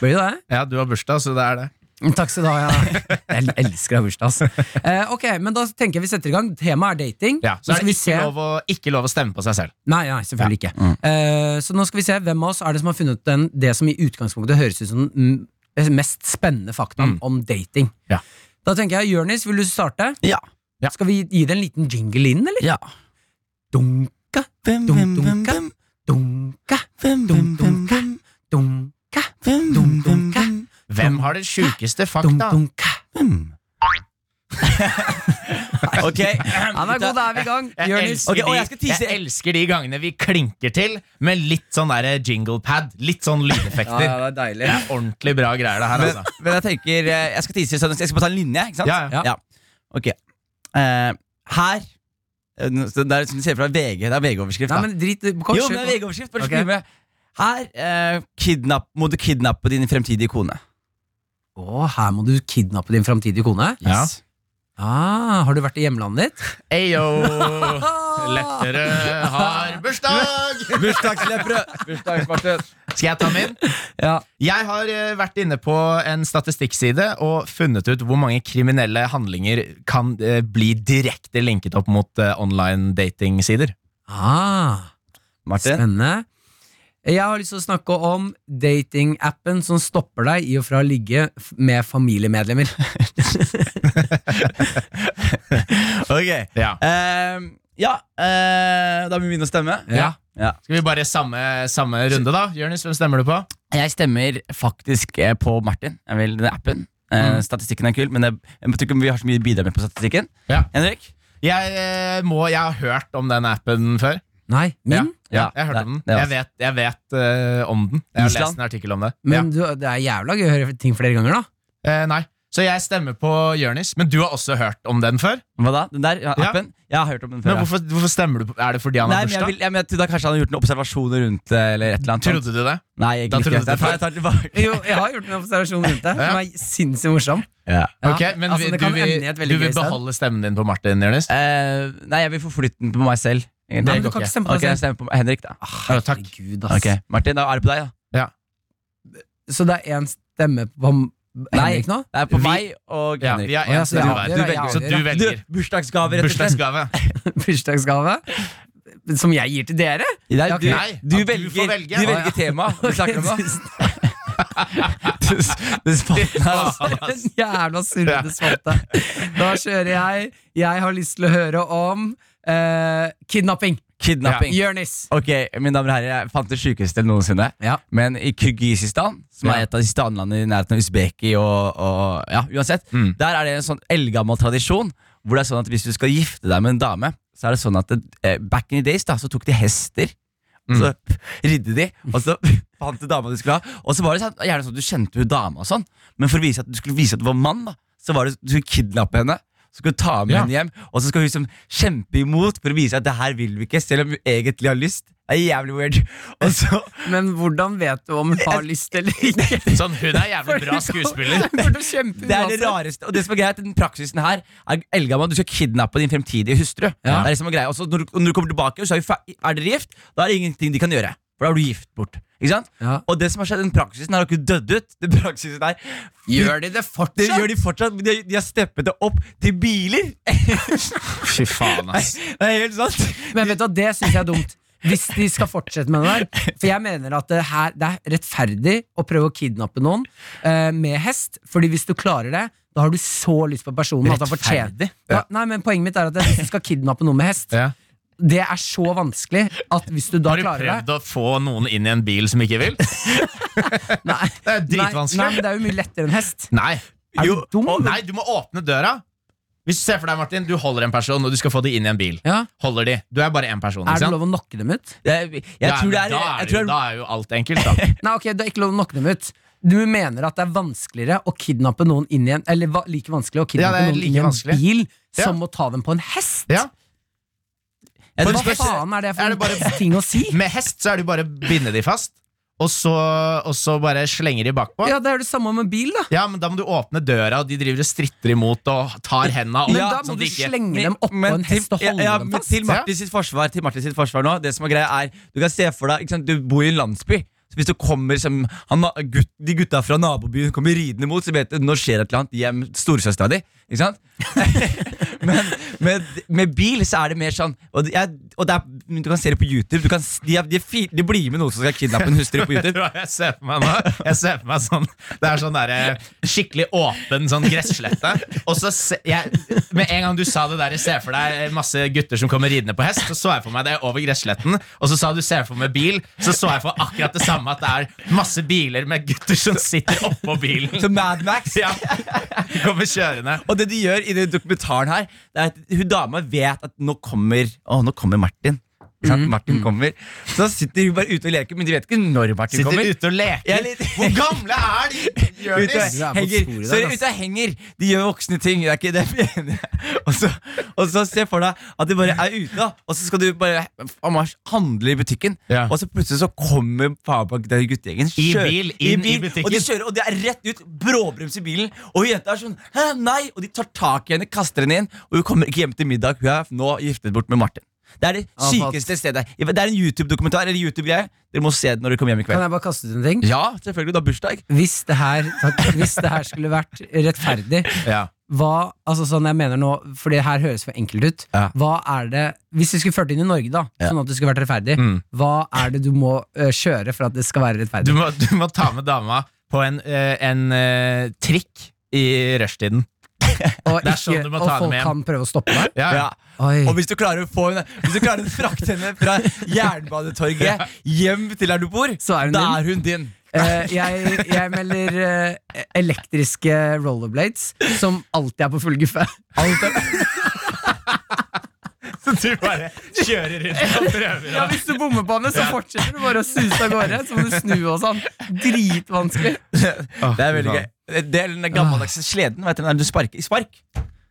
S2: Blir det det?
S3: Ja, du har bursdag, så det er det.
S2: Mm, Takk skal du ha. Ja. (laughs) Jeg elsker å ha bursdag. ass. Eh, ok, men da tenker jeg vi setter i gang. Temaet er dating.
S3: Ja,
S2: Nå
S3: så er
S2: skal vi
S3: det
S2: se-
S3: ikke lov, å, ikke lov å stemme på seg selv.
S2: Nei, nei, selvfølgelig ikke. Eh, så nå skal vi se hvem av oss er det som har funnet den, det som i utgangspunktet høres ut som den mm, mest spennende faktaen om dating.
S3: Ja.
S2: Da tenker jeg, Jørnis, vil du starte?
S4: Ja.
S3: Ja.
S2: Skal vi gi det en liten jingle inn, eller?
S4: Ja.
S2: Dunka,
S4: Bum,
S2: Dum,
S4: bum,
S2: dum,
S4: bum,
S2: ka.
S4: bum.
S2: dunka,
S4: Bum,
S2: dum,
S4: bum,
S2: dum,
S4: bum,
S2: ka,
S4: bum.
S2: dunka,
S4: Bum, bum,
S2: Dum, dum,
S4: bum,
S2: ka.
S4: bum.
S3: Hvem har den sjukeste
S2: dum,
S3: fakta?
S2: dunka.
S4: Bum. (laughs)
S2: (laughs)
S4: Ok.
S2: Ja, men god, da er vi i gang.
S3: Jeg
S2: Jørnis.
S3: elsker,
S4: Ok, og jeg skal
S3: de,
S4: tease-
S3: jeg elsker de gangene vi klinker til med litt sånn der jinglepad. Litt sånn
S2: (laughs)
S3: lydeffekter.
S2: det er deilig.
S3: Det er ordentlig bra greier, det her.
S4: Men,
S3: Altså.
S4: men jeg tenker eh, Jeg skal tease, så jeg skal bare ta en linje, ikke sant?
S3: Ja,
S2: ja.
S4: Ok. Eh, her eh, nå- så Det er som du ser fra VG. Det er VG-overskrift.
S2: Nei,
S4: da.
S2: men drit, kom,
S4: Jo, men det er
S2: kjør på.
S4: VG-overskrift. Bare
S2: Ok.
S4: skriv med. Her eh, kidnapp, må du kidnappe din fremtidige kone.
S2: Å, her må du kidnappe din framtidige kone.
S4: Yes.
S2: Ah, har du vært i hjemlandet ditt?
S3: Ayo!
S2: Ah.
S3: Lettere har bursdag!
S4: Bursdagsløpere! Bursdagsmarked.
S3: Skal jeg ta min?
S2: Ja.
S3: Jeg har eh, vært inne på en statistikkside og funnet ut hvor mange kriminelle handlinger kan eh, bli direkte linket opp mot eh, online datingsider.
S2: Ah,
S4: Martin.
S2: spennende. Jeg har lyst til å snakke om datingappen som stopper deg i og fra å ligge f- med
S3: (laughs)
S2: familiemedlemmer.
S4: Ok.
S3: Ja.
S4: Eh, ja, eh, da må vi begynne å stemme.
S2: Ja.
S4: Ja.
S3: Skal vi bare samme, samme runde, da? Jonis, hvem stemmer du på?
S4: Jeg stemmer faktisk eh, på Martin. Jeg vil den appen.
S3: Mm.
S4: Eh, Statistikken er kul, men jeg, jeg tror ikke vi har så mye å bidra med på statistikken.
S3: Ja.
S4: Henrik?
S3: Jeg, eh, må, jeg har hørt om den appen før.
S2: Nei, min?
S3: Ja,
S4: Ja,
S3: jeg hørte
S4: det-
S3: om den.
S4: det er
S3: Jeg vet, jeg vet eh, om den. Jeg har
S4: Island?
S3: lest en artikkel om det.
S2: Men du, det er jævla gøy å høre ting flere ganger,
S3: (laughs)
S2: da.
S3: ja. eh, nei. Så jeg stemmer på Jonis, men du har også hørt om den før?
S4: Hva da? Den der ja,
S3: Ja.
S4: appen? Jeg har hørt om den før.
S3: Men
S4: ja.
S3: hvorfor, hvorfor stemmer du på Er det fordi han
S4: Nei,
S3: har
S4: men jeg,
S3: bursdag?
S4: vil, jeg, men jeg trodde kanskje han hadde gjort noen observasjoner rundt det. Eller et eller annet sånt.
S3: Trodde du det?
S4: Nei, jeg
S3: Da
S4: gikk
S3: trodde
S4: ikke.
S3: du
S4: Jeg tar, jeg tar det tilbake.
S2: Jo, jeg har gjort en observasjon rundt det, som
S3: Ja.
S2: er sinnssykt morsom.
S4: Ja.
S2: Ja,
S3: Ok, men
S2: altså,
S3: vi-
S2: det
S3: du,
S2: kan ende i et
S3: vil,
S2: veldig
S3: du vil
S2: gøy sted.
S3: beholde stemmen din på Martin, Jonis?
S4: Eh, nei, jeg vil få flytten på meg selv.
S2: Nei,
S4: egentlig.
S2: men du
S3: går
S2: kan
S3: ikke.
S2: ikke stemme på
S4: Ok,
S2: deg
S4: jeg
S2: selv.
S4: stemmer på Henrik, da.
S3: Ja, takk.
S2: Herregud, ass.
S4: Ok, Martin, da er det på deg, da.
S2: Så det er én stemme på m- Henrik nå? (laughs)
S4: Det er på
S3: Vi-
S4: meg og
S3: Ja,
S4: Henrik.
S3: vi har
S2: Å, ja,
S3: en
S2: så det er-
S3: stemme hver.
S2: det
S3: Du
S2: er-
S3: velger,
S2: ja,
S3: så
S2: det
S3: du
S2: er-
S3: velger
S4: Du, bursdagsgave, rett og slett.
S3: bursdagsgave.
S2: Bursdagsgave? Som jeg gir til dere?
S4: Nei,
S2: Ja, ok.
S4: du,
S3: Nei,
S4: du,
S3: at du
S4: velger,
S3: får velge.
S4: du
S3: Å, ja.
S4: velger tema. Du snakker
S2: (laughs)
S4: om det. (laughs) Du s- du spant her, altså.
S2: Den jævla surrete spalte. Da kjører jeg. Jeg har lyst til å høre om eh, kidnapping.
S4: Kidnapping.
S2: Jørnis.
S4: Ok, mine damer og herrer, jeg fant det sjukeste noensinne.
S2: Ja.
S4: Men i Kyrgyzstan, som
S3: Ja.
S4: er et av disse landene i nærheten av Usbeki og, og ja, uansett,
S3: Mm.
S4: der er det en sånn eldgammel tradisjon hvor det er sånn at hvis du skal gifte deg med en dame, så er det sånn at det, eh, back in the days da, så tok de hester, og så ridde de, og så (laughs) fant du dama du skulle ha, og så var det sånn, gjerne sånn at du kjente jo dama og sånn, men for å vise at du skulle vise at du var mann da, så var det, du skulle kidnappe henne, så skulle du ta med
S3: Ja.
S4: henne hjem, og så skal hun liksom kjempe imot for å vise at det her vil vi ikke, selv om hun egentlig har lyst. Det er jævlig weird. (laughs) Og så,
S2: Men hvordan vet du om hun har lyst eller ikke?
S3: Sånn, hun er (laughs) jævlig
S2: (laughs)
S3: bra skuespiller.
S2: Hun kommer til å kjempe
S4: Det er det
S2: uansett.
S4: rareste. Og det som er greit, den praksisen her er eldgammel. Du skal kidnappe din fremtidige hustru. Det er det som er greia. Og så når, du- når du kommer tilbake, så er, vi fer- er dere gift. Da er det ingenting de kan gjøre. For da er du gift bort. Ikke sant?
S2: Ja.
S4: Og det som har skjedd, den praksisen har ikke dødd ut. Den praksisen her
S2: Gjør de det
S4: det
S2: fortsatt?
S4: gjør de fortsatt. men De, de har steppet det opp til biler.
S3: Fy faen, ass.
S4: (laughs) Det er helt sant.
S2: Men vet du hva, det syns jeg er dumt. Hvis de skal fortsette med det der. For jeg mener at det, her, det er rettferdig å prøve å kidnappe noen eh, med hest. Fordi hvis du klarer det, da har du så lyst på personen at han fortjener
S4: Rettferdig?
S2: ja. Nei, men Poenget mitt er at hvis du skal kidnappe noen med hest,
S3: Ja.
S2: Det er så vanskelig at hvis du da
S3: Har du
S2: klarer
S3: prøvd å få noen inn i en bil som ikke vil?
S2: deg Nei,
S3: Det er
S2: nei, nei,
S3: dritvanskelig.
S2: men det er jo mye lettere enn hest.
S3: Nei.
S2: Er du dum?
S3: å, nei, du må åpne døra. Hvis du ser for deg, Martin, du holder en person, og du skal få de inn i en bil.
S2: Ja.
S3: Holder de. Du er bare én person.
S2: Er
S3: ikke
S2: det
S3: sant?
S2: lov å knokke dem ut?
S4: Jeg, jeg
S3: Ja,
S4: tror
S3: men
S4: det er,
S3: da,
S4: jeg
S3: er
S4: tror
S3: jo,
S4: det er-
S3: da er jo alt enkelt,
S2: (laughs)
S3: da.
S2: Nei, ok, det er ikke lov å knokke dem ut. Du mener at det er vanskeligere å kidnappe noen inn i en Eller va- like vanskelig å kidnappe
S3: det er
S2: noen
S3: like
S2: inn i en
S3: vanskelig.
S2: bil
S3: Ja.
S2: som å ta dem på en hest?
S3: Ja.
S4: jeg
S2: Hva
S4: tror det er-
S2: faen er det
S3: er
S2: for
S3: det bare-
S2: en (laughs) ting å si?
S3: Med hest så er det jo bare å binde de fast, og så, og så bare slenger de bakpå. Ja.
S2: Ja, Det er det samme med bil, da.
S3: men da må du åpne døra, og de driver og stritter imot og tar henda opp.
S2: Men da må
S3: sånn at
S2: du
S3: de ikke-
S2: slenge dem oppå
S4: Men
S2: en hest og
S4: til-
S2: holde
S4: ja,
S2: dem
S4: men
S2: fast.
S4: Til Martin sitt forsvar, til Martin sitt forsvar nå, det som er greia er Du kan se for deg, ikke sant, du bor i en landsby. Så hvis du kommer som han, gutt, De gutta fra nabobyen kommer ridende mot, så vet du nå skjer et eller annet hjem til storesøstera di. Ikke sant? (laughs) men med, med bil så er det mer sånn Og, det er, og det er, du kan se det på YouTube. Du kan, s- de, er, de, er fi, de blir med noen som skal kidnappe en hustru på
S3: (laughs) Vet du
S4: YouTube.
S3: hva jeg ser for meg nå? Jeg ser for meg sånn Det er sånn derre skikkelig åpen sånn gresslette. Og så se, jeg, Med en gang du sa det der, jeg ser for deg masse gutter som kommer ridende på hest, så så jeg for meg det over gressletten. Og så sa du ser for meg bil, så så jeg for akkurat det samme, at det er masse biler med gutter som sitter oppå bilen.
S4: Så Mad Max.
S3: Ja, de kommer kjørende.
S4: Og det de gjør i den dokumentaren her, det er at hun dama vet at nå kommer Å, nå kommer Martin. Ikke sant? Martin kommer. Så sitter hun bare ute og leker, men de vet ikke når Martin
S3: Sitter
S4: kommer.
S3: ute og
S4: Jeg er
S3: leker.
S4: litt-
S3: Hvor gamle er de?
S4: Ute
S3: Jonis?
S2: Du er
S4: og
S2: på
S4: henger. Så de
S2: sporet der, ass.
S3: altså.
S4: ute og henger. De gjør voksne ting. Det er ikke det jeg mener. (laughs) Og så, og så se for deg at de bare er ute, da. og så skal du bare Amars, handle i butikken.
S3: Ja.
S4: Og så plutselig så kommer faen meg den guttegjengen.
S3: I
S4: kjører-
S3: bil, inn i butikken.
S4: Og de kjører, og de er rett ut. Bråbrems i bilen. Og jenta er sånn Hæ, nei! Og de tar tak i henne, kaster henne inn, og hun kommer ikke hjem til middag. Hun er nå giftet bort med Martin. Det er det
S2: Ah, faen.
S4: sykeste stedet. Det er en YouTube-dokumentar. Eller YouTube-greie Dere må se det når dere kommer hjem i
S2: Kan
S4: kveld.
S2: jeg bare kaste ut en ting?
S4: Ja, selvfølgelig. Du har bursdag.
S2: Hvis det her, takk, hvis det her skulle vært rettferdig
S3: Ja.
S2: hva, altså sånn jeg mener nå, for det her høres for enkelt ut
S4: Ja.
S2: Hva er det, Hvis vi skulle ført det inn i Norge, da sånn at det skulle vært rettferdig, hva er det du må eh, kjøre for at det skal være
S3: Mm. Du
S2: rettferdig?
S3: må, du må ta med dama på en, eh, en eh, trikk i rushtiden.
S2: og
S3: det er sånn du må ta
S2: og
S3: det
S2: folk
S3: med hjem.
S2: kan prøve å stoppe deg?
S3: Ja, ja.
S4: Ja.
S3: Mm.
S2: Oi.
S4: Og hvis du klarer å få henne Hvis du klarer å frakte henne fra Jernbanetorget hjem til der du bor,
S2: Så er hun
S4: da
S2: din.
S4: er hun din.
S2: Eh, jeg, jeg melder eh, elektriske rollerblades, som alltid er på full guffe. (laughs)
S3: Så du bare kjører rundt og prøver.
S2: Ja, hvis du bommer på henne, så fortsetter du bare å suse av gårde. Så må du snu og sånn. Dritvanskelig.
S4: Det er veldig gøy. Det er den gammeldagse
S3: Ah.
S4: sleden. Vet du, den der du sparker i spark.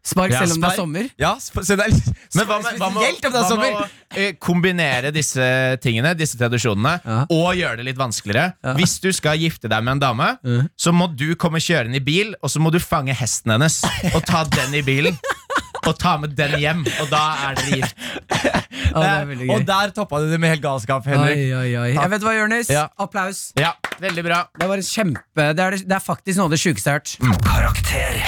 S2: Spark
S3: Ja,
S2: selv om det
S3: spark.
S2: er sommer.
S4: Ja, sp- så det er
S3: Men hva med, hva
S4: spesielt om
S3: med,
S4: det er
S3: hva med
S4: sommer?
S3: å eh, kombinere disse tingene, disse tradisjonene,
S2: Ja.
S3: og gjøre det litt vanskeligere? Hvis du skal gifte deg med en dame, så må du komme kjørende i bil, og så må du fange hesten hennes og ta den i bilen. Og ta med den hjem, og da er dere gift.
S2: Å, det er veldig gøy.
S4: Eh, Og der toppa du det med helt galskap, Henrik.
S2: Oi, oi, oi. Jeg vet hva, Jonis.
S4: Ja.
S2: Applaus.
S3: Ja, veldig bra.
S2: Det var en kjempe Det er, det er faktisk noe av det sjukeste jeg har hørt.
S1: Karakter.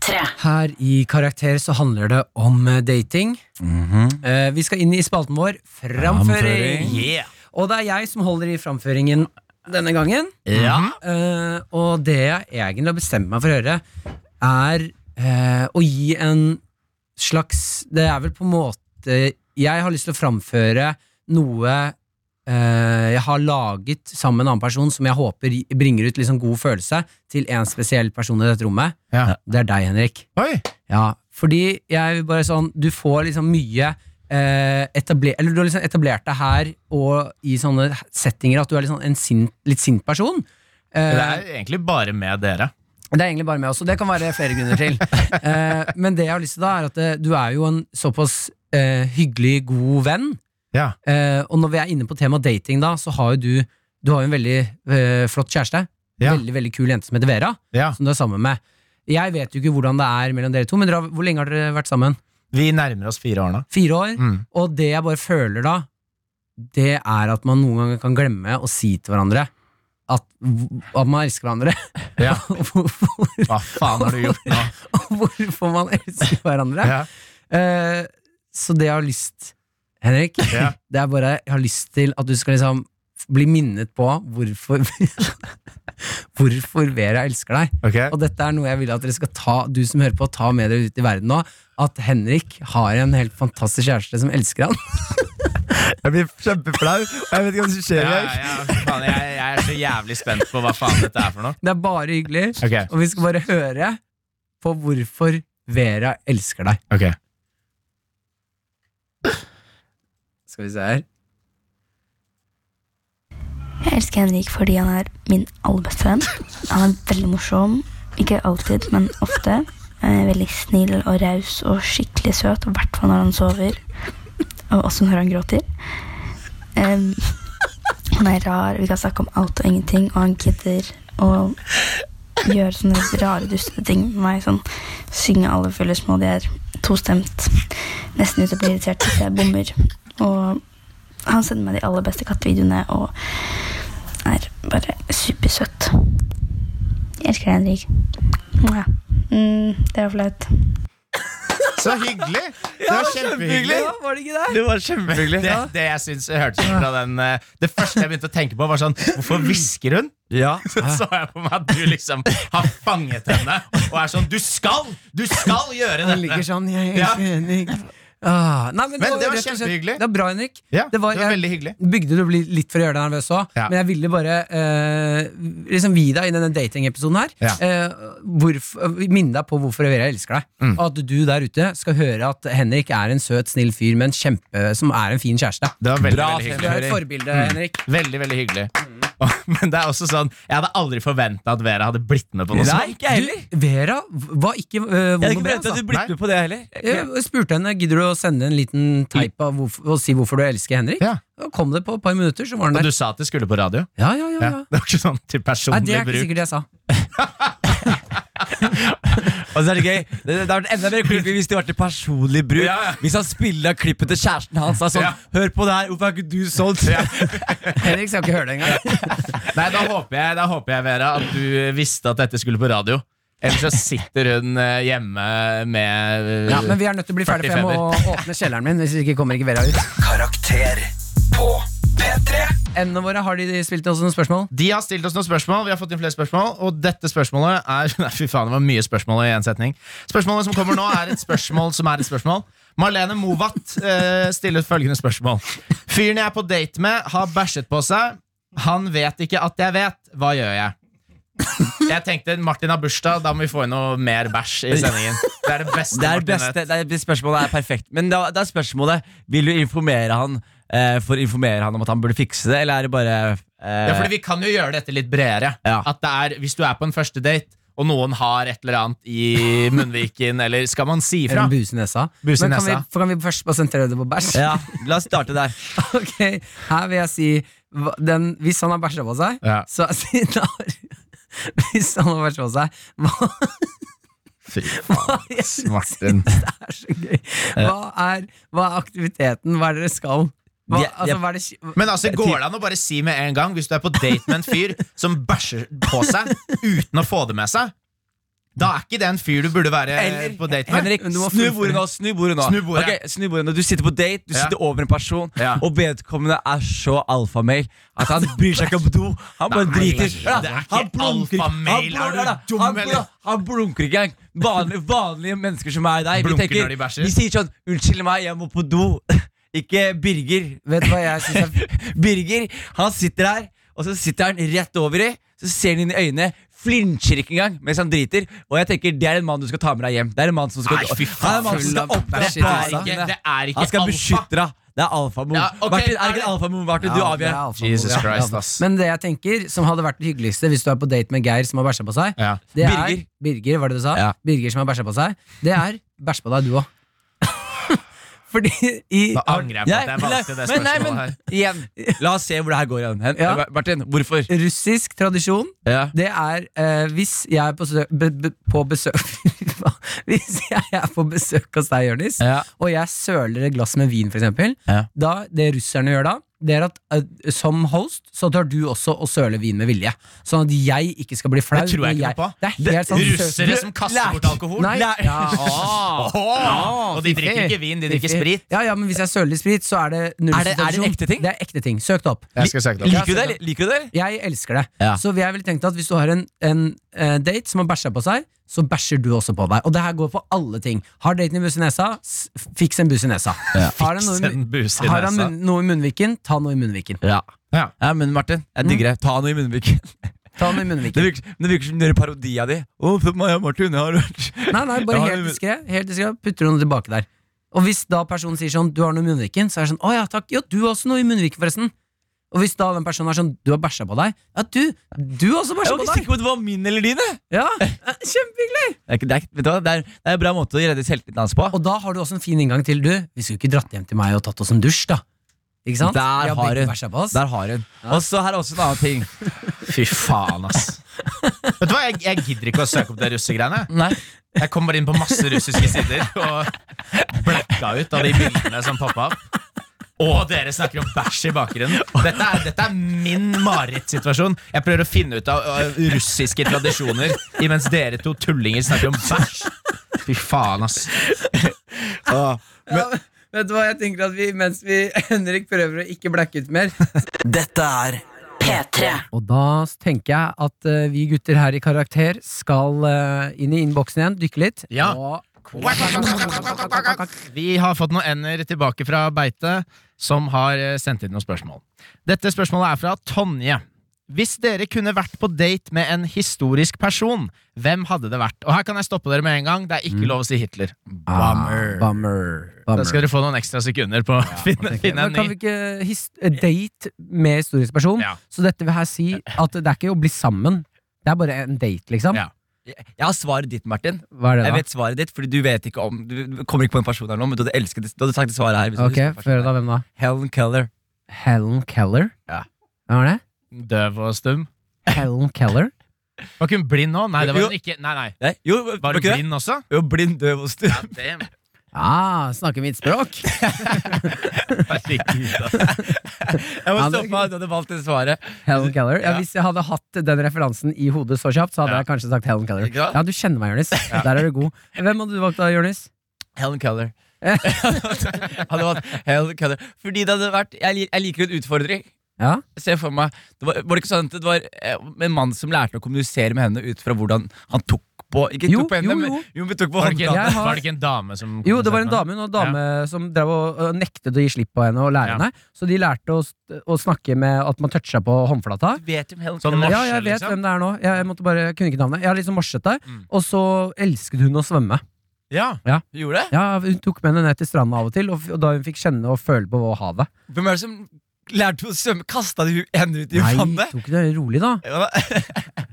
S5: P3.
S2: Her i Karakter så handler det om eh, dating. Eh, vi skal inn i spalten vår Framføring.
S4: Mhm. Framføring.
S3: Yeah.
S2: Og det er jeg som holder i framføringen denne gangen.
S3: Mhm.
S2: Eh, og det jeg egentlig har bestemt meg for å gjøre, er eh, å gi en slags Det er vel på en måte Jeg har lyst til å framføre noe eh, jeg har laget sammen med en annen person som jeg håper gi- bringer ut liksom god følelse til en spesiell person i dette rommet.
S3: Ja.
S2: Det er deg, Henrik.
S3: Oi.
S2: Ja, fordi jeg vil bare sånn Du får liksom mye eh, etabler, Eller du har liksom etablert deg her og i sånne settinger at du er liksom en sint, litt sint person. Eh,
S3: Det er egentlig bare med dere.
S2: det er egentlig bare meg også. Det kan være flere grunner
S3: (laughs)
S2: til. Eh, men det jeg har lyst til da, er at eh, du er jo en såpass eh, hyggelig, god venn.
S3: Ja.
S2: Eh, og når vi er inne på temaet dating, da, så har jo du Du har jo en veldig eh, flott kjæreste.
S3: Ja.
S2: Veldig, veldig kul jente som heter Vera,
S3: Ja.
S2: som du er sammen med. Jeg vet jo ikke hvordan det er mellom dere to, men dere har, hvor lenge har dere vært sammen?
S3: Vi nærmer oss fire år nå.
S2: Fire år.
S3: Mm.
S2: Og det jeg bare føler da, det er at man noen ganger kan glemme å si til hverandre at, at man elsker hverandre. (laughs)
S3: Ja.
S2: Og hvorfor,
S3: Hva faen har du gjort
S5: (laughs)
S3: nå?
S2: og hvorfor man elsker hverandre.
S3: Ja.
S2: Eh, så det jeg har lyst Henrik, (laughs)
S3: Ja.
S2: det er bare jeg har lyst til at du skal liksom bli minnet på hvorfor (laughs) hvorfor Vera elsker deg.
S5: Ok?
S2: Og dette er noe jeg vil at dere skal ta Du som hører på, ta med dere ut i verden nå. At Henrik har en helt fantastisk kjæreste som elsker han.
S5: Jeg blir kjempeflau. og Jeg vet ikke hva som skjer.
S3: Ja,
S5: jeg.
S3: ja, faen, jeg, jeg er så jævlig spent på hva faen dette er for noe.
S2: Det er bare hyggelig.
S5: Ok.
S2: Og vi skal bare høre på hvorfor Vera elsker deg.
S5: Ok.
S2: Skal vi se her.
S6: Jeg elsker Henrik fordi han er min aller beste venn. Han er veldig morsom. Ikke alltid, men ofte. Han er veldig snill og raus og skikkelig søt, i hvert fall når han sover. Og også når han gråter. Em, han er rar, vi kan snakke om alt og ingenting, og han gidder å gjøre sånne rare, dustete ting med meg. Sånn synge alle følger små, de er tostemt. Nesten ute og blir irritert hvis jeg bommer. Og han sender meg de aller beste kattevideoene og er bare supersøtt. Jeg elsker deg, Henrik. Mwah. Mm, det var flaut.
S5: Så hyggelig! Det var kjempehyggelig.
S2: Ja, var det ikke
S3: (laughs)
S2: det?
S5: Det var kjempehyggelig.
S3: Det, det jeg synes jeg hørte fra den eh, Det første jeg begynte å tenke på, var sånn Hvorfor hvisker hun?
S4: Ja.
S3: Så så jeg på meg at du liksom har fanget henne og er sånn Du skal! Du skal gjøre
S2: Han
S3: dette!
S2: ligger sånn Jeg
S3: Ja.
S2: elsker Henrik. Ah, nei, men,
S3: Men det
S2: rett
S3: var
S2: og slett-
S3: kjempehyggelig.
S2: Det var bra, Henrik.
S5: Ja,
S2: det var,
S3: det var
S2: jeg
S3: veldig hyggelig.
S2: Bygde du bli- litt for å gjøre deg nervøs òg,
S5: Ja.
S2: men jeg ville bare eh, liksom gi deg i denne datingepisoden her.
S5: Ja.
S2: eh, hvorf- Minne deg på hvorfor Vera elsker deg.
S3: Mm.
S2: Og at du der ute skal høre at Henrik er en søt, snill fyr med en kjempe, som er en fin kjæreste.
S5: Det var veldig,
S4: Bra,
S2: Du
S5: veldig hyggelig.
S2: er et forbilde,
S3: Mm.
S2: Henrik.
S3: Veldig, veldig hyggelig. Og- Men det er også sånn Jeg hadde aldri forventa at Vera hadde blitt med på noe
S4: Nei,
S3: sånt.
S4: ikke jeg heller.
S2: Du, Vera var ikke eh,
S4: Jeg hadde
S2: vond å
S4: ikke
S2: be.
S4: forventet
S2: Altså.
S4: at du blitt med på det heller.
S2: Jeg spurte henne gidder du å sende en liten teip av hvorfor, og si hvorfor du elsker Henrik.
S5: Ja.
S2: Og kom det på et par minutter, så var han
S3: Og
S2: der.
S3: du sa at det skulle på radio.
S2: Ja, ja, ja,
S5: Ja,
S2: ja.
S5: det var ikke sånn til
S2: Nei,
S5: personlig
S2: det er ikke
S5: bruk.
S2: sikkert det jeg sa.
S4: Og så er det gøy. Det, det hadde vært enda mer creepy hvis det var til personlig bruk.
S3: Ja, ja.
S4: Hvis han spilla klippet til kjæresten hans. Da, sånn,
S3: Ja.
S4: Hør på det her, hvorfor er ikke du solgt?
S2: Henrik skal ikke høre det engang.
S3: Nei, da håper, jeg, da håper jeg, Vera, at du visste at dette skulle på radio. Ellers så sitter hun eh, hjemme med eh,
S2: Ja, men vi er nødt til å bli ferdig, for jeg må åpne kjelleren min. Hvis ikke kommer ikke Vera ut.
S1: Karakter på P3.
S2: Endene våre, har de spilt oss noen spørsmål?
S3: De har stilt oss noen spørsmål, vi har fått inn flere spørsmål, og dette spørsmålet er (laughs) Nei, fy faen, det var mye spørsmål i en setning. Spørsmålet som kommer nå, er et spørsmål som er et spørsmål. Marlene Movatt eh, stiller følgende spørsmål. Fyren jeg er på date med, har bæsjet på seg. Han vet ikke at jeg vet. Hva gjør jeg? Jeg tenkte Martin har bursdag, da må vi få inn noe mer bæsj i sendingen. Det er det beste.
S4: Det er
S3: Martin vet.
S4: beste, det er, det spørsmålet er perfekt. Men da, da er spørsmålet Vil du informere han eh, for å informere han om at han burde fikse det, eller er det bare eh,
S3: Ja, fordi Vi kan jo gjøre dette litt bredere.
S4: Ja.
S3: At det er, Hvis du er på en første date, og noen har et eller annet i munnviken, eller skal man si fra?
S2: En buse i nesa.
S3: Buse i
S2: Men kan vi,
S3: nesa.
S2: for kan vi først bare sentrere det på bæsj?
S4: ja, La oss starte der.
S2: (laughs) Ok, Her vil jeg si hva- den, Hvis han har bæsja på seg,
S3: Ja.
S2: så (laughs) si da Hvis han har bæsja på seg, hva (laughs)
S3: Fy
S2: Hva jeg synes (laughs) det er så gøy. Hva er, hva er aktiviteten? Hva er det dere skal? Hva,
S4: Jeg-
S2: altså,
S4: jeg-
S2: hva er det,
S3: Men altså, går det an å bare si med en gang hvis du er på date med en fyr som bæsjer på seg uten å få det med seg? Da er ikke det en fyr du burde være
S4: Eller-
S3: eh, på date med.
S4: Henrik,
S2: Men du må
S4: snu
S2: fullføre.
S4: bordet nå. Snu bordet nå.
S3: Snu bordet.
S4: Ok, snu bordet nå. Du sitter på date, du
S3: Ja.
S4: sitter over en person,
S3: Ja.
S4: og vedkommende er så alfamail at han bryr seg ikke om do. Han bare
S3: Nei,
S4: driter.
S3: det er
S4: Ja,
S3: ikke
S4: han blunker ikke. Han
S3: alfamail, er
S4: blun-
S3: du
S4: ja, da.
S3: dum,
S4: Han blun-
S3: eller?
S4: Han blunker ikke engang. Vanlige, vanlige mennesker som er deg, vi
S3: Blunker
S4: tenker-
S3: når de bæsjer.
S4: Vi sier sånn 'Unnskyld meg, jeg må på do'. (laughs) Ikke Birger.
S2: vet du hva jeg synes er
S4: Birger, han sitter her, og så sitter han rett over i. Så ser han inn i øynene, flinsjer ikke engang mens han driter. Og jeg tenker, det er en mann du skal ta med deg hjem. Det er en mann som skal,
S3: Nei,
S4: han er
S3: fy faen,
S4: en mann som
S2: full
S4: skal
S2: av
S4: oppdra
S2: bæsj i trusa.
S4: barna dine.
S3: altså. Det er ikke
S4: Han skal
S3: alfa.
S4: beskytte deg. Det er alfamor.
S3: Ja, ok,
S4: Martin, er
S3: er
S4: det ikke
S3: det-
S4: en alfamor, Martin? (laughs) Du
S2: Ja, det er
S4: avgjør.
S2: alfa-
S3: Jesus
S2: ja,
S3: Christ,
S2: alfa.
S3: ass.
S2: Men det jeg tenker, som hadde vært det hyggeligste hvis du er på date med Geir som har bæsja på seg,
S3: Ja.
S2: det er
S4: Birger.
S2: Birger, var det du sa?
S4: Ja.
S2: Birger som har bæsja på seg, det er bæsj på deg, du òg. (laughs) Fordi i
S3: Da angrer jeg på at
S4: Jeg-
S3: jeg valgte det
S4: men, nei,
S3: spørsmålet her.
S4: men igjen, la oss se hvor det her går igjen. Hen-
S2: Ja.
S4: Mar- Martin, hvorfor?
S2: russisk tradisjon
S4: Ja.
S2: Det er eh, hvis jeg er på, sø- be, be, på (laughs) besøk Hvis jeg er på besøk hos deg, Jonis,
S4: Ja.
S2: og jeg søler et glass med vin, for eksempel
S4: Ja.
S2: da, Det russerne gjør da, det er at eh, som host så tør du også å søle vin med vilje. Sånn at jeg ikke skal bli flau.
S5: Det tror jeg
S2: når
S5: ikke noe på.
S2: Det er helt sant.
S3: Russere som kaster bort alkohol?
S4: (laughs)
S2: Nei, ja.
S3: Åh, og de drikker ikke vin, de drikker sprit.
S2: Ja, ja, men hvis jeg søler litt sprit, så er det null
S4: Er det- er det en
S2: situasjon.
S4: ekte ting?
S2: Det er ekte ting. Søk det opp.
S5: Jeg skal søke det opp.
S4: Liker du det? Liker du det?
S2: Jeg elsker det.
S4: Ja.
S2: Så jeg ville tenkt at hvis du har en, en eh, date som har bæsja på seg, så bæsjer du også på deg. Og det her går på alle ting. Har daten en buss i nesa, s- fiks en buss i nesa. Har han, noe, i
S3: En
S2: mun-
S3: bus i
S2: har han
S3: nesa.
S2: munn, noe i munnviken, ta noe i munnviken.
S4: Ja.
S5: Ja.
S4: ja, men Martin, jeg digger det. Mm. Ta noe i munnviken.
S2: Ta noe
S4: (laughs) Det
S2: i munnviken.
S4: virker, men det virker som dere parodi av de. Å, for meg og Martin, jeg har hørt
S2: Nei, nei,
S4: Ja,
S2: bare
S4: det-
S2: helt diskré. Helt diskré. Putter du noe tilbake der. Og hvis da personen sier sånn, du har noe i munnviken, så er det sånn, å ja, takk, ja, du har også noe i munnviken, forresten. Og hvis da den personen er sånn, du har bæsja på deg, ja, du, du har også
S4: Jeg
S2: bæsja
S4: var
S2: på
S4: ikke
S2: deg.
S4: sikker på om det var min eller dine. (laughs)
S2: Ja, kjempehyggelig.
S4: Det er, ikke- det er, ikke- vet du hva? Det er, det er en bra måte å redde selvtilliten hans på.
S2: Og da har du også en fin inngang til du. Vi skulle ikke dratt hjem til meg og tatt oss en dusj, da. Ikke sant?
S4: Der
S2: Vi
S4: har
S2: begge
S4: hun.
S2: bæsja på oss.
S4: Der har hun. Og så her er også en annen ting.
S3: Fy faen,
S2: (laughs)
S3: ass. Vet du hva, jeg, jeg gidder ikke å søke opp det russegreiene.
S4: Nei.
S3: Jeg kom bare inn på masse russiske sider og blekka ut av de bildene som poppa opp. Og dere snakker om bæsj i bakgrunnen. Dette er, dette er min marerittsituasjon. Jeg prøver å finne ut av øh, russiske tradisjoner imens dere to tullinger snakker om bæsj. Fy faen, ass.
S2: Vet du hva, jeg tenker at vi, mens vi (laughs) Henrik prøver å ikke blacke ut mer
S1: Dette er
S7: P3.
S2: Og da tenker jeg at eh, vi gutter her i Karakter skal eh, inn i innboksen igjen, dykke litt.
S3: Ja.
S2: Og
S3: Vi har fått noen ender tilbake fra Beite, som har eh, sendt inn noen spørsmål. Dette spørsmålet er fra Tonje. Hvis dere kunne vært på date med en historisk person, hvem hadde det vært? Og her kan jeg stoppe dere med en gang. Det er
S4: Mm.
S3: ikke lov å si Hitler.
S2: Ah, bummer.
S3: Da
S2: bummer.
S3: skal dere få noen ekstra sekunder på å (laughs) finne, finne
S2: Men
S3: en
S2: kan vi
S3: ny.
S2: ikke his eh, date med historisk person?
S3: Ja.
S2: Så dette vil her si at det er ikke å bli sammen. Det er bare en date, liksom.
S3: Ja.
S4: Jeg har svaret ditt, Martin.
S2: Hva er det,
S4: Jeg
S2: da?
S4: vet svaret ditt, fordi du vet ikke om Du kommer ikke på en person her nå, men du hadde elsket det. Du hadde sagt det svaret her. hvis du
S2: Ok,
S4: husker
S2: Før
S4: personen
S2: da,
S4: her.
S2: hvem da?
S4: Helen Keller.
S2: Helen Keller?
S4: Ja.
S2: Hvem var det?
S3: Døv og stum.
S2: Helen Keller?
S3: Var ikke hun blind nå? Nei, det var
S4: Jo.
S3: hun ikke. Nei, nei.
S4: Nei, jo, var,
S3: Var hun
S4: ikke det?
S3: blind også?
S4: Jo, blind, døv og stum. (laughs)
S3: Damn.
S2: Ah, snakker mitt språk!
S3: Herregud, ass.
S4: Jeg må
S2: Ja, men-
S4: stoppe meg, du hadde valgt det svaret.
S2: Helen Keller. Ja,
S4: Ja.
S2: hvis jeg hadde hatt den referansen i hodet så kjapt, så hadde
S3: Ja.
S2: jeg kanskje sagt Helen Keller.
S4: Ikke sant?
S2: Ja, du kjenner meg, Jonis. Der er du god. Hvem hadde du valgt da, Jonis?
S4: Helen Keller. (laughs) hadde valgt Helen Keller. Fordi det hadde vært Jeg, lik- jeg liker en utfordring.
S2: Ja?
S4: Se for meg det var, var det ikke sånn at det var eh, en mann som lærte å kommunisere med henne ut fra hvordan han tok på Ikke
S2: Jo,
S4: tok på henne,
S2: jo,
S4: men
S2: jo.
S4: jo, men tok på
S3: Var det, ikke,
S4: håndflaten.
S2: Jeg har-
S3: var det ikke en dame som
S2: Jo, det var en dame, hun var en dame som drev og og nektet å gi slipp på henne og lære
S3: Ja.
S2: henne. Så de lærte å, st- å snakke med at man toucha på håndflata.
S4: Du vet om Helen
S3: Sånn
S4: Keller.
S3: morse,
S2: Ja, jeg vet
S3: liksom?
S2: hvem det er nå. Jeg, jeg, måtte bare, jeg kunne ikke navnet. Jeg er liksom morsete.
S3: Mm.
S2: Og så elsket hun å svømme.
S3: Ja.
S4: Gjorde det?
S2: Ja, Hun tok med henne ned til stranda av og til, og, f- og da hun fikk kjenne og føle på havet.
S4: Hvem er det som lærte å svømme? Kasta du henne ut i
S2: Nei,
S4: vannet?
S2: tok det rolig, da.
S4: Ja, da-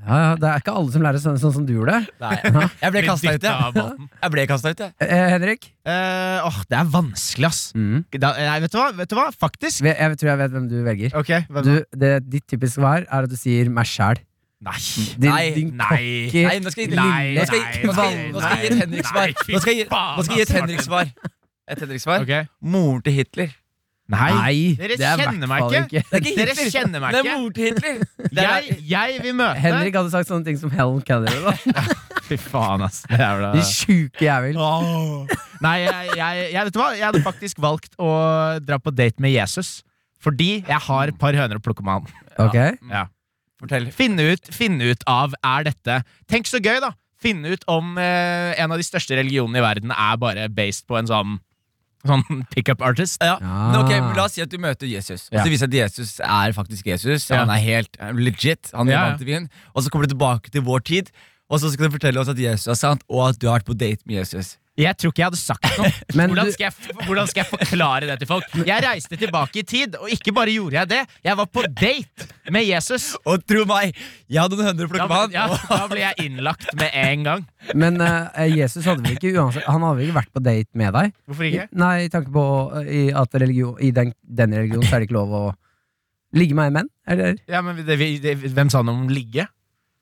S2: Ja, ja, det er ikke alle som lærer sånn, sånn som du gjorde.
S4: Nei, jeg ble
S3: Blitt
S4: kasta ut,
S3: dyttet av
S4: jeg.
S3: båten.
S4: Jeg ble kastet ut, jeg.
S2: Eh, Henrik?
S3: Eh, åh, det er vanskelig, ass.
S4: Mm.
S3: Da, nei, vet du hva? Vet du hva? Faktisk.
S2: Jeg, jeg tror jeg vet hvem du velger.
S3: Ok, hvem
S2: Du, det ditt typiske svar er at du sier 'meg sjæl'.
S3: Nei.
S2: Din,
S4: Nei,
S2: din
S3: nei.
S2: cocky-
S4: Nei, nå skal jeg,
S3: Nei,
S4: nå skal jeg, nå skal jeg, nå skal jeg gi et
S3: nei,
S4: Henrik-svar.
S3: nei, fy
S4: Nå skal jeg gi- nå skal jeg gi et
S3: faen, ass,
S4: Henrik-svar. Et Henrik-svar.
S3: Ok.
S4: Moren til Hitler.
S3: Nei.
S2: Nei,
S3: Dere
S2: det er i
S3: kjenner
S2: hvert
S3: meg
S2: fall
S3: ikke.
S4: Det er ikke
S3: Dere
S4: Hitler.
S3: kjenner meg
S4: Det er
S3: ikke.
S4: moren til Hitler. Det er-
S3: Jeg, jeg vil møte
S2: Henrik hadde sagt sånne ting som Helen Keller. Da. (laughs)
S3: Fy faen, ass. Det er
S2: De sjuke jævel.
S3: Åh. Nei, jeg, jeg, jeg, vet du hva? Jeg hadde faktisk valgt å dra på date med Jesus. Fordi jeg har et par høner å plukke med han.
S2: Ok?
S3: Ja.
S4: Fortell.
S3: Finne ut, finne ut av er dette Tenk så gøy, da! Finne ut om eh, en av de største religionene i verden er bare based på en sånn, sånn pickup artist.
S4: Ja.
S2: Ah.
S4: Men ok, men La oss si at du møter Jesus, og
S3: Ja.
S4: så viser det seg at Jesus er faktisk Jesus.
S3: Ja.
S4: Han er helt legit. Han er
S3: Ja, ja.
S4: vant til byen. Og så kommer du tilbake til vår tid, og så skal du fortelle oss at Jesus er sant, og at du har vært på date med Jesus.
S3: Jeg tror ikke jeg hadde sagt noe.
S2: (laughs) Men
S3: hvordan,
S2: du-
S3: skal jeg, hvordan skal jeg forklare det til folk? Jeg reiste tilbake i tid, og ikke bare gjorde jeg det, jeg var på date med Jesus.
S4: Og tro meg, jeg hadde noen høner å
S3: Da,
S4: plukke
S3: ble-
S4: med (laughs)
S3: ja,
S4: han.
S3: da ble jeg innlagt med en gang.
S2: Men eh, Jesus hadde vel ikke uansett Han hadde vel ikke vært på date med deg?
S3: Hvorfor ikke?
S2: Nei, i tanke på eh, i at religion, i den, den religionen så er det ikke lov å ligge med menn? Eller?
S3: Ja, men det, vi- det, Hvem sa noe om ligge?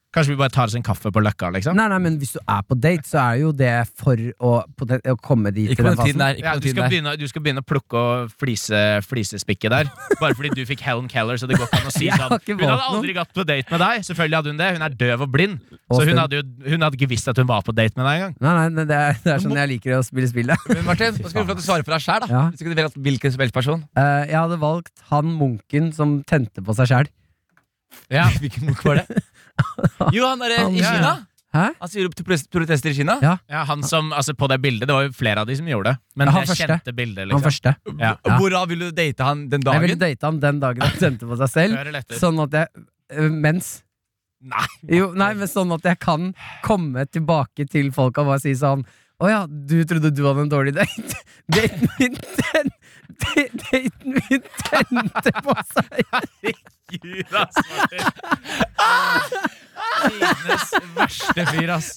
S3: Kanskje vi bare tar oss en kaffe på Løkka, liksom?
S2: Nei, nei, men Hvis du er på date, så er jo det for å, på den, å komme dit.
S4: Ikke
S2: til
S4: på
S2: den
S4: den tiden
S2: fasen.
S4: der. Ikke
S3: Ja,
S4: på den
S3: du, skal
S4: tiden der.
S3: begynne, du skal begynne å plukke og flise, flisespikket der. Bare fordi du fikk Helen Keller, så det går ikke an å si
S2: (laughs) Jeg har
S3: sånn.
S2: ikke
S3: Hun hadde
S2: valgt noen.
S3: aldri gått på date med deg. Selvfølgelig hadde hun det. Hun er døv og blind.
S2: Og
S3: Så
S2: stund.
S3: hun hadde, jo, hun hadde ikke visst at hun var på date med deg engang.
S2: Nei, nei, men det er, det er sånn jeg liker å spille spillet.
S4: Men Martin, da skal du få lov til å svare for deg selv da.
S2: Ja.
S4: Hvis du kunne velge hvilken som helst person.
S2: Eh, jeg hadde valgt han munken som tente på seg sjæl.
S3: Ja. (laughs)
S4: Hvilken bok var det? (laughs) Jo, han er
S2: Han-
S4: i
S2: Ja, ja.
S4: Kina.
S2: Hæ?
S4: Han sier opp til protest- protester i Kina.
S2: Ja.
S3: Ja, han som, altså På det bildet, det var jo flere av de som gjorde det. Men
S2: Ja, han
S3: det
S2: første.
S3: kjente bildet,
S2: Han
S3: liksom.
S2: første.
S3: Ja.
S2: Ja.
S4: Hvorav vil du date han den
S2: Jeg ville
S4: dagen?
S2: date ham den dagen han tente på seg selv.
S3: Hører etter.
S2: Sånn at jeg øh, Mens.
S3: Nei.
S2: Jo, nei, men sånn at jeg kan komme tilbake til folka og bare si sånn Å ja, du trodde du hadde en dårlig date? (laughs) Daten min, ten, da- daten min tente på seg!
S3: Gud, ass, Martin. Tidenes verste fyr,
S2: (laughs)
S3: ass.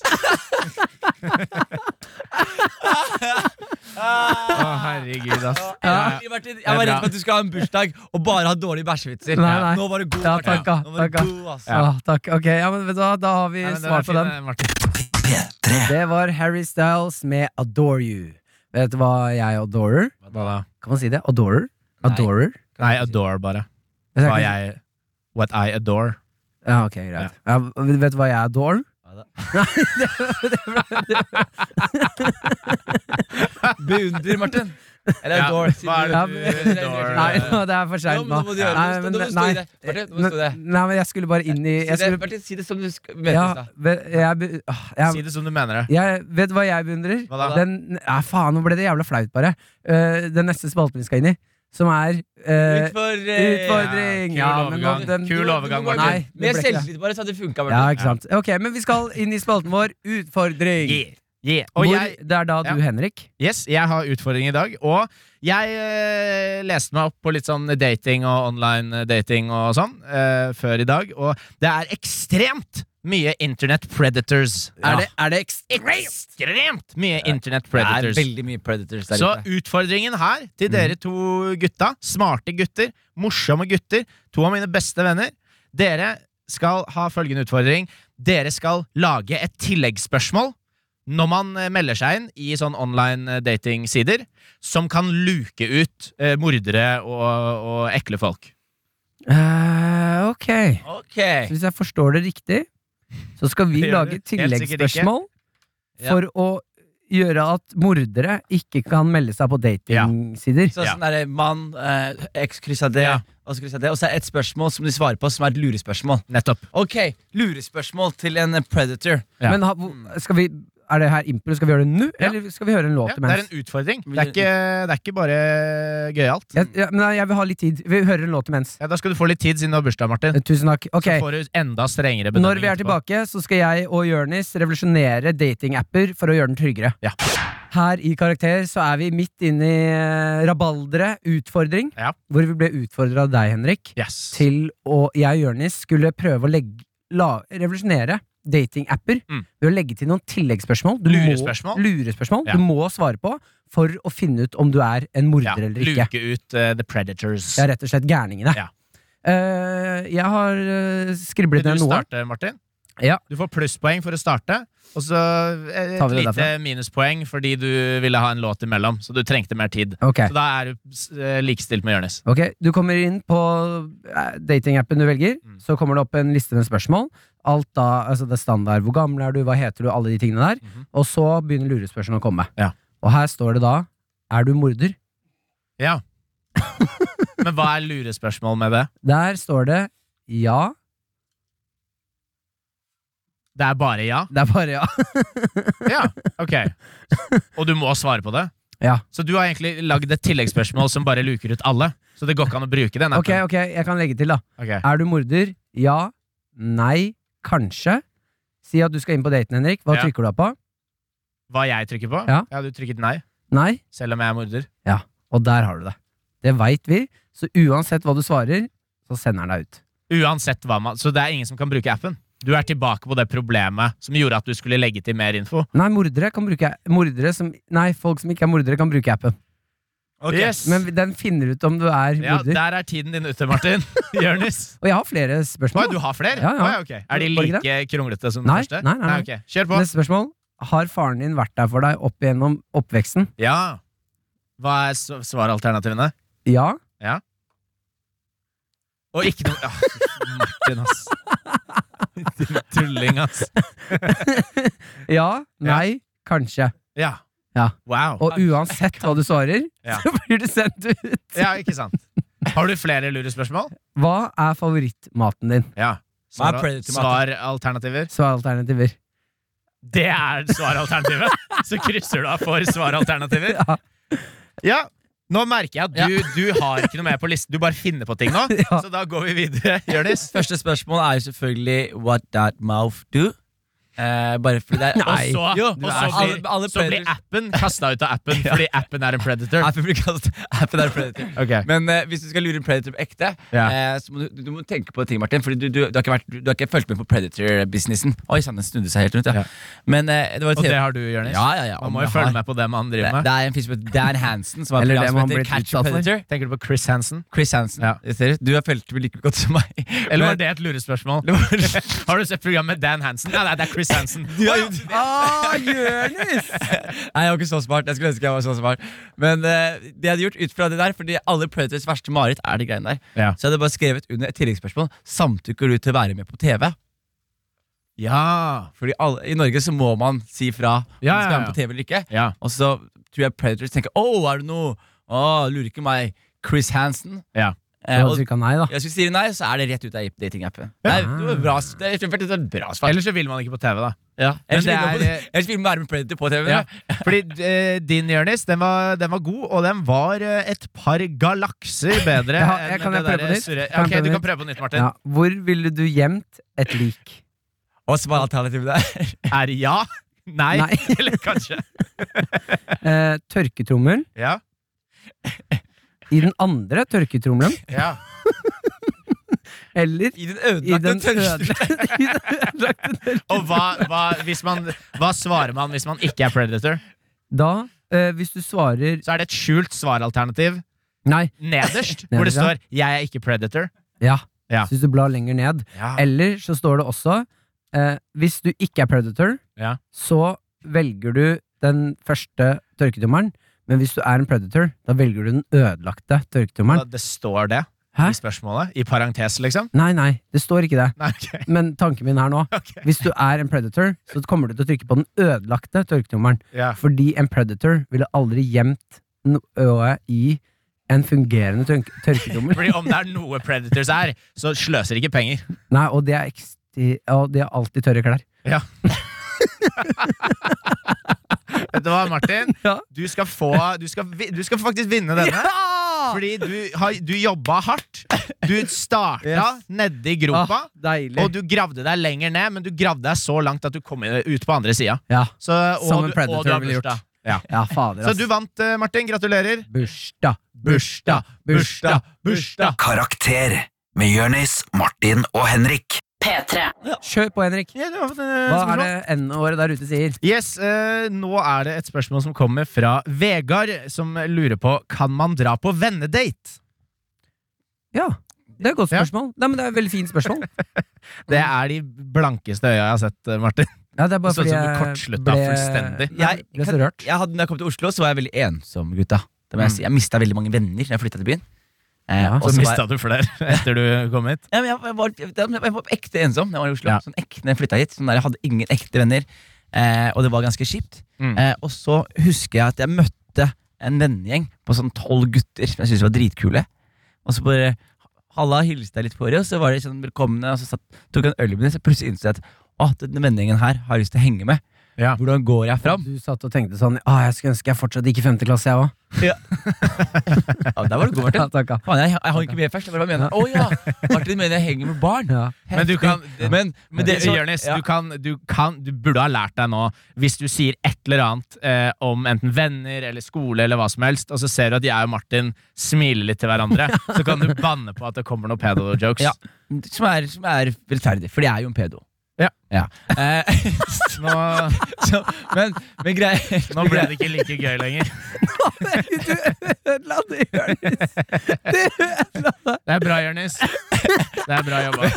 S3: Å, herregud, ass.
S4: Ja.
S3: Ja.
S4: Martin, Jeg var redd
S3: Det er bra.
S4: for at du skulle ha en bursdag og bare ha dårlige bæsjevitser.
S2: Nei, nei.
S4: Nå var du god.
S2: Ja,
S4: Martin.
S2: takk, ja.
S4: Nå var du
S2: Takk, ja.
S4: god, altså. ass.
S2: Å, takk. Ok, ja, men vet du hva, da har vi
S3: Nei, men den er
S2: svar på
S3: fin,
S2: den.
S3: eh, Martin.
S8: P3
S2: Det var Harry Styles med Adore You. Vet du hva jeg adorer?
S3: Hva da?
S2: Kan man si det? Adorer?
S4: Nei.
S2: Adorer?
S3: Nei, adore, bare.
S2: Vet du
S3: Hva
S2: hva jeg-
S3: jeg What I adore.
S2: Ja, ok, greit. Ja, vet du hva jeg adorer?
S4: Beundrer,
S3: (laughs)
S4: Martin. Eller
S3: Ja,
S4: dårlig.
S3: hva er det
S2: Ja,
S3: du
S4: men-
S3: adore?
S2: Nei, (laughs) nå, det er for
S4: Ja,
S2: seint
S4: men
S2: nå.
S4: nå må du gjøre det.
S2: Nei,
S4: Nå
S2: men-
S4: må du stå
S2: nei.
S4: i det. Martin, nå må du stå i det.
S2: Nei, men jeg skulle bare inn i jeg
S4: Si det,
S2: skulle,
S4: Martin, si det som du sk- mente i
S2: ja,
S4: stad.
S2: ve- jeg, be- åh,
S3: Si
S2: jeg,
S3: det som du mener det.
S2: jeg Vet du hva jeg beundrer?
S3: Hva da?
S2: Den, ja, faen, nå ble det jævla flaut, bare. Eh, den neste spalten vi skal inn i, som er eh,
S4: Utfor, eh,
S2: Utfordring!
S3: Ja, kul
S2: men
S3: overgang.
S2: den-
S3: Kul overgang, Martin.
S2: Nei, det
S4: Mer
S2: ble ikke det.
S4: selvtillit, bare, så hadde det funka.
S2: Ja, ikke sant. Ok, men vi skal inn i spalten vår Utfordring.
S3: Yeah. Yeah. Og
S2: Hvor,
S3: jeg,
S2: det er da du,
S3: Ja.
S2: Henrik.
S3: yes, jeg har utfordring i dag. Og jeg eh, leste meg opp på litt sånn dating og online dating og sånn eh, før i dag, og det er ekstremt mye internet predators.
S4: Ja.
S3: Er det er det ekstremt mye internet
S4: Det er
S3: predators?
S4: veldig mye predators der
S3: Så
S4: ute.
S3: utfordringen her til
S2: Mhm.
S3: dere to gutta, smarte gutter, morsomme gutter, to av mine beste venner Dere skal ha følgende utfordring. Dere skal lage et tilleggsspørsmål når man eh, melder seg inn i sånn online eh, datingsider som kan luke ut eh, mordere og, og ekle folk.
S2: Eh, ok.
S4: Ok.
S2: Så hvis jeg forstår det riktig, så skal vi
S3: Det gjør
S2: lage
S3: du. Helt sikkert ikke.
S2: tilleggsspørsmål
S4: Ja.
S2: for å gjøre at mordere ikke kan melde seg på datingsider.
S4: Så,
S3: Ja.
S4: sånn derre mann, eh, X kryssa det,
S3: Ja.
S4: og så kryssa det. Og så er det et spørsmål som de svarer på, som er et lurespørsmål.
S3: Nettopp.
S4: Ok, Lurespørsmål til en eh, predator.
S3: Ja.
S2: Men ha, hvor- skal vi, er det her impro? Skal vi gjøre det nå,
S3: Ja.
S2: eller skal vi høre en låt
S3: Ja, det er
S2: imens?
S3: en utfordring. Det er ikke, det er ikke bare gøyalt.
S2: Jeg, ja, men nei, jeg vil ha litt tid. Vi hører en låt imens.
S3: Ja, da skal du få litt tid siden du har bursdag,
S2: Eh,
S3: Martin.
S2: Tusen takk.
S3: Så
S2: Ok,
S3: får du enda strengere
S2: Når vi er
S3: etterpå.
S2: tilbake, så skal jeg og Jørnis revolusjonere datingapper for å gjøre den tryggere.
S3: Ja.
S2: Her i Karakter så er vi midt inne i eh, rabalderet utfordring,
S3: Ja.
S2: hvor vi ble utfordra av deg, Henrik.
S3: Yes.
S2: til å Jeg og Jørnis skulle prøve å legge, la, revolusjonere datingapper
S3: Mm.
S2: ved å legge til noen tilleggsspørsmål.
S3: Lurespørsmål.
S2: Må, lurespørsmål
S3: Ja.
S2: du må svare på for å finne ut om du er en morder eller ikke.
S3: Luke ut eh, The Predators.
S2: Det er rett og slett gærningene.
S3: Ja.
S2: Eh, jeg har uh,
S3: Vil
S2: skriblet
S3: du
S2: ned noe.
S3: starte, Martin?
S2: Ja.
S3: Du får plusspoeng for å starte, og så eh,
S2: Tar
S3: et
S2: vi det
S3: lite
S2: derfra?
S3: minuspoeng fordi du ville ha en låt imellom, så du trengte mer tid.
S2: Ok,
S3: Så da er du s- eh, likestilt med Jonis.
S2: ok, Du kommer inn på eh, datingappen du velger.
S3: Mm.
S2: Så kommer det opp en liste med spørsmål. Alt da, altså det er standard, Hvor gammel er du, hva heter du, alle de tingene der.
S3: Mhm.
S2: Og så begynner lurespørsmålene å komme.
S3: Ja.
S2: Og her står det da Er du morder? (laughs)
S3: Ja. Men hva er lurespørsmål med det?
S2: Der står det ja.
S3: Det er bare ja?
S2: Det er bare ja.
S3: Ja,
S2: (laughs)
S3: ok. Og du må svare på det?
S2: Ja.
S3: Så du har egentlig lagd et tilleggsspørsmål som bare luker ut alle? Så det går ikke an å bruke den?
S2: (laughs) Ok,
S3: appen.
S2: ok, jeg kan legge til, da.
S3: Ok.
S2: Er du morder? Ja. Nei. Kanskje. Si at du skal inn på daten, Henrik. Hva
S3: Ja.
S2: trykker du da på?
S3: Hva jeg trykker på?
S2: Ja.
S3: ja, du trykket nei,
S2: Nei.
S3: selv om jeg er morder?
S2: Og der har du det. Det veit vi, så uansett hva du svarer, så sender han deg ut.
S3: Uansett hva man Så det er ingen som kan bruke appen? Du er tilbake på det problemet som gjorde at du skulle legge til mer info?
S2: Nei, mordere kan bruke mordere som, Nei, folk som ikke er mordere, kan bruke appen.
S3: Ok. Yes.
S2: Men den finner ut om du er
S3: ja,
S2: morder.
S3: der er tiden din ute,
S2: (laughs)
S3: Martin. Jonis.
S2: og jeg har flere
S3: Hva,
S2: spørsmål.
S3: du har flere?
S2: Ja, ja.
S3: Å, ok. Er de
S2: Var det ikke
S3: like kronglete som den
S2: Nei,
S3: første?
S2: nei, nei, nei.
S3: ok. Kjør på.
S2: Neste spørsmål. Har faren din vært der for deg opp igjennom oppveksten?
S3: Ja. Hva er s- svaralternativene?
S2: Ja.
S3: Og ikke noe ja, Martin, ass. (laughs) Din tulling, ass.
S2: Ja. Nei. Kanskje.
S3: Ja.
S2: Ja.
S3: Wow.
S2: Og uansett hva du svarer,
S3: Ja.
S2: (laughs) så blir du sendt ut.
S3: Ja, ikke sant. Har du flere lure spørsmål?
S2: Hva er favorittmaten din?
S3: Ja.
S4: Hva er
S3: Svar-
S4: predator-maten?
S3: Svaralternativer.
S2: Svar alternativer.
S3: Det er svaralternativet! Så krysser du av for svaralternativer.
S2: Ja.
S3: Ja, nå merker jeg at du, du har ikke noe mer på listen. Du bare finner på
S4: (laughs)
S3: ting nå.
S2: Ja.
S3: Så da går vi videre, Jonis.
S4: Første spørsmål er jo selvfølgelig What that mouth do? Eh, bare fordi
S3: (laughs)
S4: det er
S3: Og så,
S4: Jo,
S3: og
S4: du
S3: så,
S4: er-
S3: blir,
S4: alle, alle
S3: så blir
S4: predators-
S3: appen kasta ut av appen fordi appen er en predator.
S4: Appen blir kalt (laughs) appen er predator.
S3: (laughs) Ok.
S4: Men eh, hvis du skal lure en predator på ekte,
S3: Ja.
S4: eh, så må du, du må tenke på en ting, Martin. Fordi du, du, du, har ikke vært, du, du har ikke fulgt med på predator-businessen. Oi, sann, den snudde seg helt rundt, ja.
S3: Ja.
S4: Men eh, det var et
S3: Og det
S4: TV
S3: har du, Jonis.
S4: Ja, ja, ja.
S3: Man
S4: om
S3: må jo
S4: jeg
S3: følge
S4: har-
S3: med på det man
S4: Det,
S3: driver med.
S4: det er en film som heter Dan Hansen, som har
S2: Eller det
S4: program
S2: man
S4: som heter
S2: blitt
S4: Catch a
S2: utsatt for.
S4: Predator.
S3: Tenker du på Chris Hansen?
S4: Chris Hansen.
S3: Ja.
S4: Jeg ser det. Du har fulgt med like godt som meg.
S3: Eller
S4: Men- (laughs)
S3: var det et lurespørsmål? Har du sett programmet med Dan Hansen? Nei, nei, det er Chris
S4: (laughs)
S3: Hansen.
S2: Ah, Jonis!
S4: Nei, jeg var ikke så smart. Jeg skulle ønske jeg var så smart. Men eh, det jeg hadde gjort ut fra det der, fordi alle Predators verste mareritt er de greiene der,
S3: Ja.
S4: så jeg hadde bare skrevet under et tilleggsspørsmål Samtykker du til å være med på TV.
S3: Ja.
S4: Fordi alle, I Norge så må man si fra om
S3: Ja,
S4: man skal være
S3: ja,
S4: med
S3: ja.
S4: på TV eller ikke.
S3: ja.
S4: Og så tror jeg Predators tenker Å, er det noe? Å, lurer ikke meg. Chris Hansen.
S3: Ja.
S4: Eh, og
S2: Du kan nei, da.
S4: hvis du sier nei, så er det rett ut av datingappen. Ja. Det var bra, s- det er et bra svar.
S3: Ellers så vil man ikke på TV, da.
S4: Ja. Ellers
S3: Men
S4: vil man på-
S3: det er-
S4: ellers vil man være med Predator på TV.
S3: Ja. Fordi eh, din, Jonis, den var, den var god, og den var eh, et par galakser bedre.
S2: (laughs) Ja, jeg
S3: enn
S2: kan jeg
S3: det
S2: prøve
S3: der
S2: på nytt?
S3: surre-
S2: Kan jeg
S3: Ok,
S2: prøve
S3: du
S2: på
S3: kan prøve på nytt, Martin.
S2: Ja. Hvor ville du gjemt et lik?
S4: Og så var alternativet der.
S3: Er det ja? Nei?
S2: Nei. (laughs)
S3: (laughs) Eller kanskje?
S2: Eh, tørketrommel.
S3: Ja.
S2: I den andre tørketrommelen.
S3: ja.
S2: Eller
S4: (laughs) I den
S2: i
S4: ødelagte
S2: den (laughs)
S4: tørsten.
S2: ødelagte i den ødelagte tørketrommelen.
S3: Og hva, hva, hvis man, hva svarer man hvis man ikke er predator?
S2: Da, eh, hvis du svarer
S3: Så er det et skjult svaralternativ
S2: Nei.
S3: nederst, hvor det står 'jeg er ikke predator'.
S2: Ja.
S3: Ja.
S2: Så hvis du blar lenger ned. Eller så står det også eh, Hvis du ikke er predator,
S3: Ja.
S2: så velger du den første tørketrommelen. Men hvis du er en predator, da velger du den ødelagte tørketrommelen.
S3: Og altså, Det står det
S2: Hæ?
S3: i spørsmålet. I parentes, liksom.
S2: Nei, nei, det står ikke det.
S3: Nei, ok. (laughs)
S2: Men tanken min her nå Hvis du er en predator, så kommer du til å trykke på den ødelagte tørketrommelen.
S3: Ja.
S2: Fordi en predator ville aldri gjemt noe i en fungerende tørk tørketrommel.
S3: Fordi om det er noe predators er, så sløser de ikke penger.
S2: Nei, og det er, eksti- og de har alltid tørre klær.
S3: Vet du hva, Martin?
S2: Ja.
S3: Du skal få Du skal, vi- du skal faktisk vinne denne. Fordi du, har, du jobba hardt. Du starta
S2: Yes.
S3: nede i gropa.
S2: Ah! deilig.
S3: Og du gravde deg lenger ned, men du gravde deg så langt at du kom i- ut på andre sida.
S2: ja.
S3: Så, og
S2: Som en
S3: du-
S2: predator
S3: og du har
S2: ville gjort.
S3: bursdag. Ja.
S2: ja, fader,
S3: Så
S2: ass.
S3: du vant, eh, Martin. Gratulerer.
S2: Bursdag, bursdag, bursdag, bursdag.
S1: Karakter med Jørnis, Martin og Henrik.
S5: P3.
S2: Kjør på, Henrik.
S3: Ja, du har fått, eh,
S2: Hva
S3: spørsmål.
S2: er det N-året der ute sier?
S3: Yes, eh, Nå er det et spørsmål som kommer fra Vegard, som lurer på Kan man dra på vennedate.
S2: Ja, det er et godt
S3: Ja.
S2: spørsmål. Nei, men det er et veldig fint
S3: (laughs)
S2: spørsmål.
S3: Det
S2: Mm.
S3: er de blankeste øya jeg har sett, eh, Martin.
S2: Ja, det er bare
S3: Sånn
S2: fordi
S3: som du
S2: jeg
S3: kortslutta
S2: ble,
S3: fullstendig.
S2: jeg ble så rørt.
S4: Jeg hadde, når jeg kom til (laughs) Oslo, så var jeg veldig ensom, gutta. Det må jeg, si. jeg mista veldig mange venner da jeg flytta til byen. Eh,
S2: Mm. Ja,
S4: og
S3: Så
S4: så var
S3: mista du flere (laughs) etter du kom hit.
S4: jeg, ja, men jeg, jeg, var, jeg, jeg var ekte ensom da jeg var i Oslo.
S3: Ja.
S4: Sånn ekte, når jeg flytta hit. Sånn der, jeg hadde ingen ekte venner, eh, og det var ganske kjipt.
S3: Mm.
S4: Eh, og så husker jeg at jeg møtte en vennegjeng på sånn tolv gutter som jeg syntes var dritkule. Og så bare Halla hilste jeg litt på dem, og så var de sånn velkomne. Og så satt, tok jeg en øl med dem, så plutselig innså jeg at å, denne vennegjengen her har jeg lyst til å henge med.
S3: Ja.
S4: Hvordan går jeg fram?
S2: Du satt og tenkte sånn ah, Jeg skulle ønske jeg fortsatt gikk i femte klasse, jeg òg.
S4: Ja, der var du god, Martin.
S2: Ja, takk, ja. (laughs)
S4: Faen, jeg, jeg hang ikke med først. Jeg bare mener, Å ja, Martin mener jeg henger med barn.
S2: Ja.
S3: Men du kan-
S4: Heftig. men, men det,
S3: Det, Jørnes,
S4: ja.
S3: du, kan, du, kan, du burde ha lært deg nå, hvis du sier et eller annet eh, om enten venner eller skole, eller hva som helst, og så ser du at jeg og Martin smiler litt til hverandre, så kan du banne på at det kommer noen pedo-jokes.
S4: Ja. Som, er, som er velferdig, for jeg er jo en pedo.
S3: Ja.
S4: Eh,
S3: (laughs) Nå,
S4: så, men, men greier
S3: nå ble det ikke like gøy lenger.
S2: Ødela det, Jonis.
S3: Det er bra, Jonis. Det er bra jobba.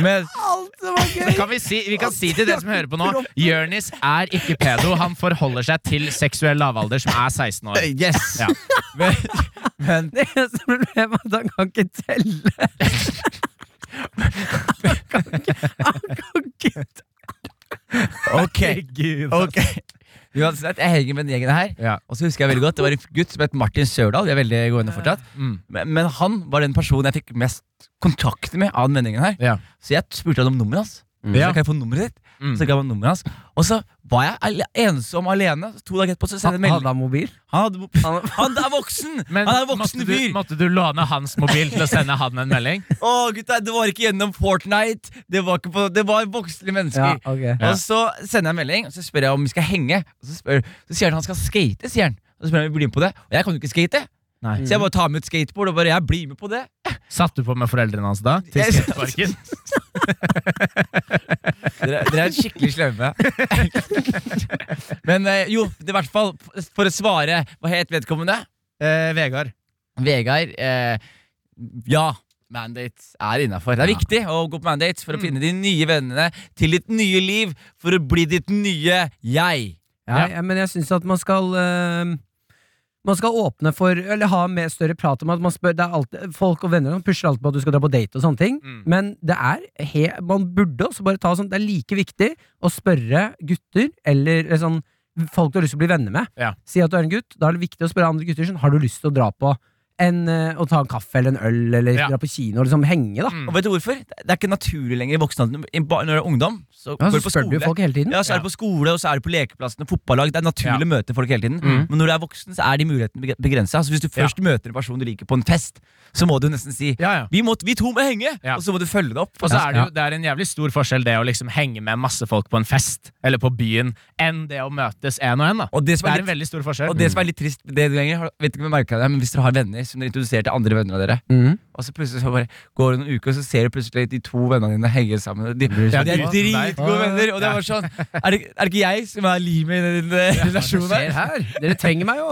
S4: men,
S2: Alt som var gøy.
S3: Kan vi, si, vi kan si til dere som hører på nå Jonis er ikke pedo. Han forholder seg til seksuell lavalder, som er 16 år.
S4: Yes!
S3: Ja.
S4: Men, men
S2: Det eneste problemet er at han kan ikke
S3: (laughs)
S2: telle. Han kan ikke, han kan ikke
S4: ok. ok Uansett, Jeg henger med den gjengen her.
S3: Ja.
S4: Og så husker jeg veldig godt Det var en gutt som het Martin Sørdal. Vi er veldig gode venner fortsatt
S3: Mm.
S4: men, men han var den personen jeg fikk mest kontakt med av den vendingen her.
S3: Ja.
S4: Så jeg spurte han om nummeret hans.
S3: Mm. Ja.
S4: Så kan jeg få nummeret ditt?
S3: Mm.
S4: Så ga han nummeret hans Og så var jeg ale- ensom alene. To dager etterpå så sendte jeg en melding.
S2: Hadde han mobil?
S4: Han, hadde, han, han er voksen!
S3: (laughs) Men
S4: han er en
S3: måtte
S4: voksen
S3: du,
S4: fyr!
S3: måtte du låne hans mobil til å sende han en melding?
S4: Å, gutta, det var ikke gjennom Fortnite. Det var, ikke på, det var voksne
S2: Ja,
S4: mennesker.
S2: ok.
S3: Ja.
S4: Og så sender jeg en melding, og så spør jeg om vi skal henge. Og så, spør, så sier han han skal skate. sier han Og så spør han om vi blir med på det. Og jeg kan jo ikke skate.
S3: Nei.
S4: Så jeg bare tar med et skateboard og bare jeg blir med på det.
S3: Satt du på med foreldrene hans da? Til
S4: Jeg-
S3: skateparken?
S4: Dere, dere er skikkelig slemme. Men eh, jo, det er i hvert fall for å svare Hva het vedkommende?
S3: Eh, Vegard.
S4: Vegard. eh, ja, mandate er innafor. Det er viktig å gå på mandate for å finne de nye vennene til ditt nye liv. For å bli ditt nye jeg.
S2: Ja, ja, men jeg syns at man skal eh, man skal åpne for, eller ha mer større prat om at man spør, det er alltid, folk og venner som pusher alltid på at du skal dra på date og sånne ting, men det er he, man burde også bare ta sånn, det er like viktig å spørre gutter, eller, eller sånn, folk du har lyst til å bli venner med.
S3: Ja.
S2: Si at du er en gutt, da er det viktig å spørre andre gutter, sånn, har du lyst til å dra på en, eh, å ta en kaffe eller en øl, eller
S3: Ja.
S2: dra på kino, og liksom henge da.
S3: Mm.
S4: Og vet du hvorfor? Det er ikke naturlig lenger i voksen alder. I ba- Når du er ungdom, så
S2: Ja,
S4: går
S2: så
S4: du på
S2: spør du
S4: skole.
S2: folk hele tiden.
S4: Ja, så er du på skole, og så er du på lekeplassen og fotballag. Det er naturlig å møte folk hele tiden.
S3: Mm.
S4: Men når du er voksen, så er de mulighetene begrensa. Så Altså, hvis du først møter en person du liker på en fest, så må du nesten si
S3: Ja, ja.
S4: vi, må, vi to må henge!
S3: Ja.
S4: Og så må du følge det opp.
S3: Og så er det,
S4: Ja.
S3: jo, det er en jævlig stor forskjell det å liksom henge med masse folk på en fest eller på byen, enn det å møtes en og en. da.
S4: Og det som er
S3: Det er
S4: litt
S3: en veldig stor forskjell.
S4: Og det som er litt trist det du ganger, har- vet ikke om jeg merket det, men Hvis dere har venner som dere introduserer til andre venner av dere,
S2: Mhm.
S4: og så plutselig så bare går det noen uker, og så ser du plutselig de to vennene dine henge sammen. og De,
S3: så
S4: ja, de er
S3: glad.
S4: dritgode
S3: Nei.
S4: venner! Og det er bare sånn Er det, er det ikke jeg som er limet i den eh, relasjonen
S2: Se
S4: her?
S2: her, dere trenger meg jo.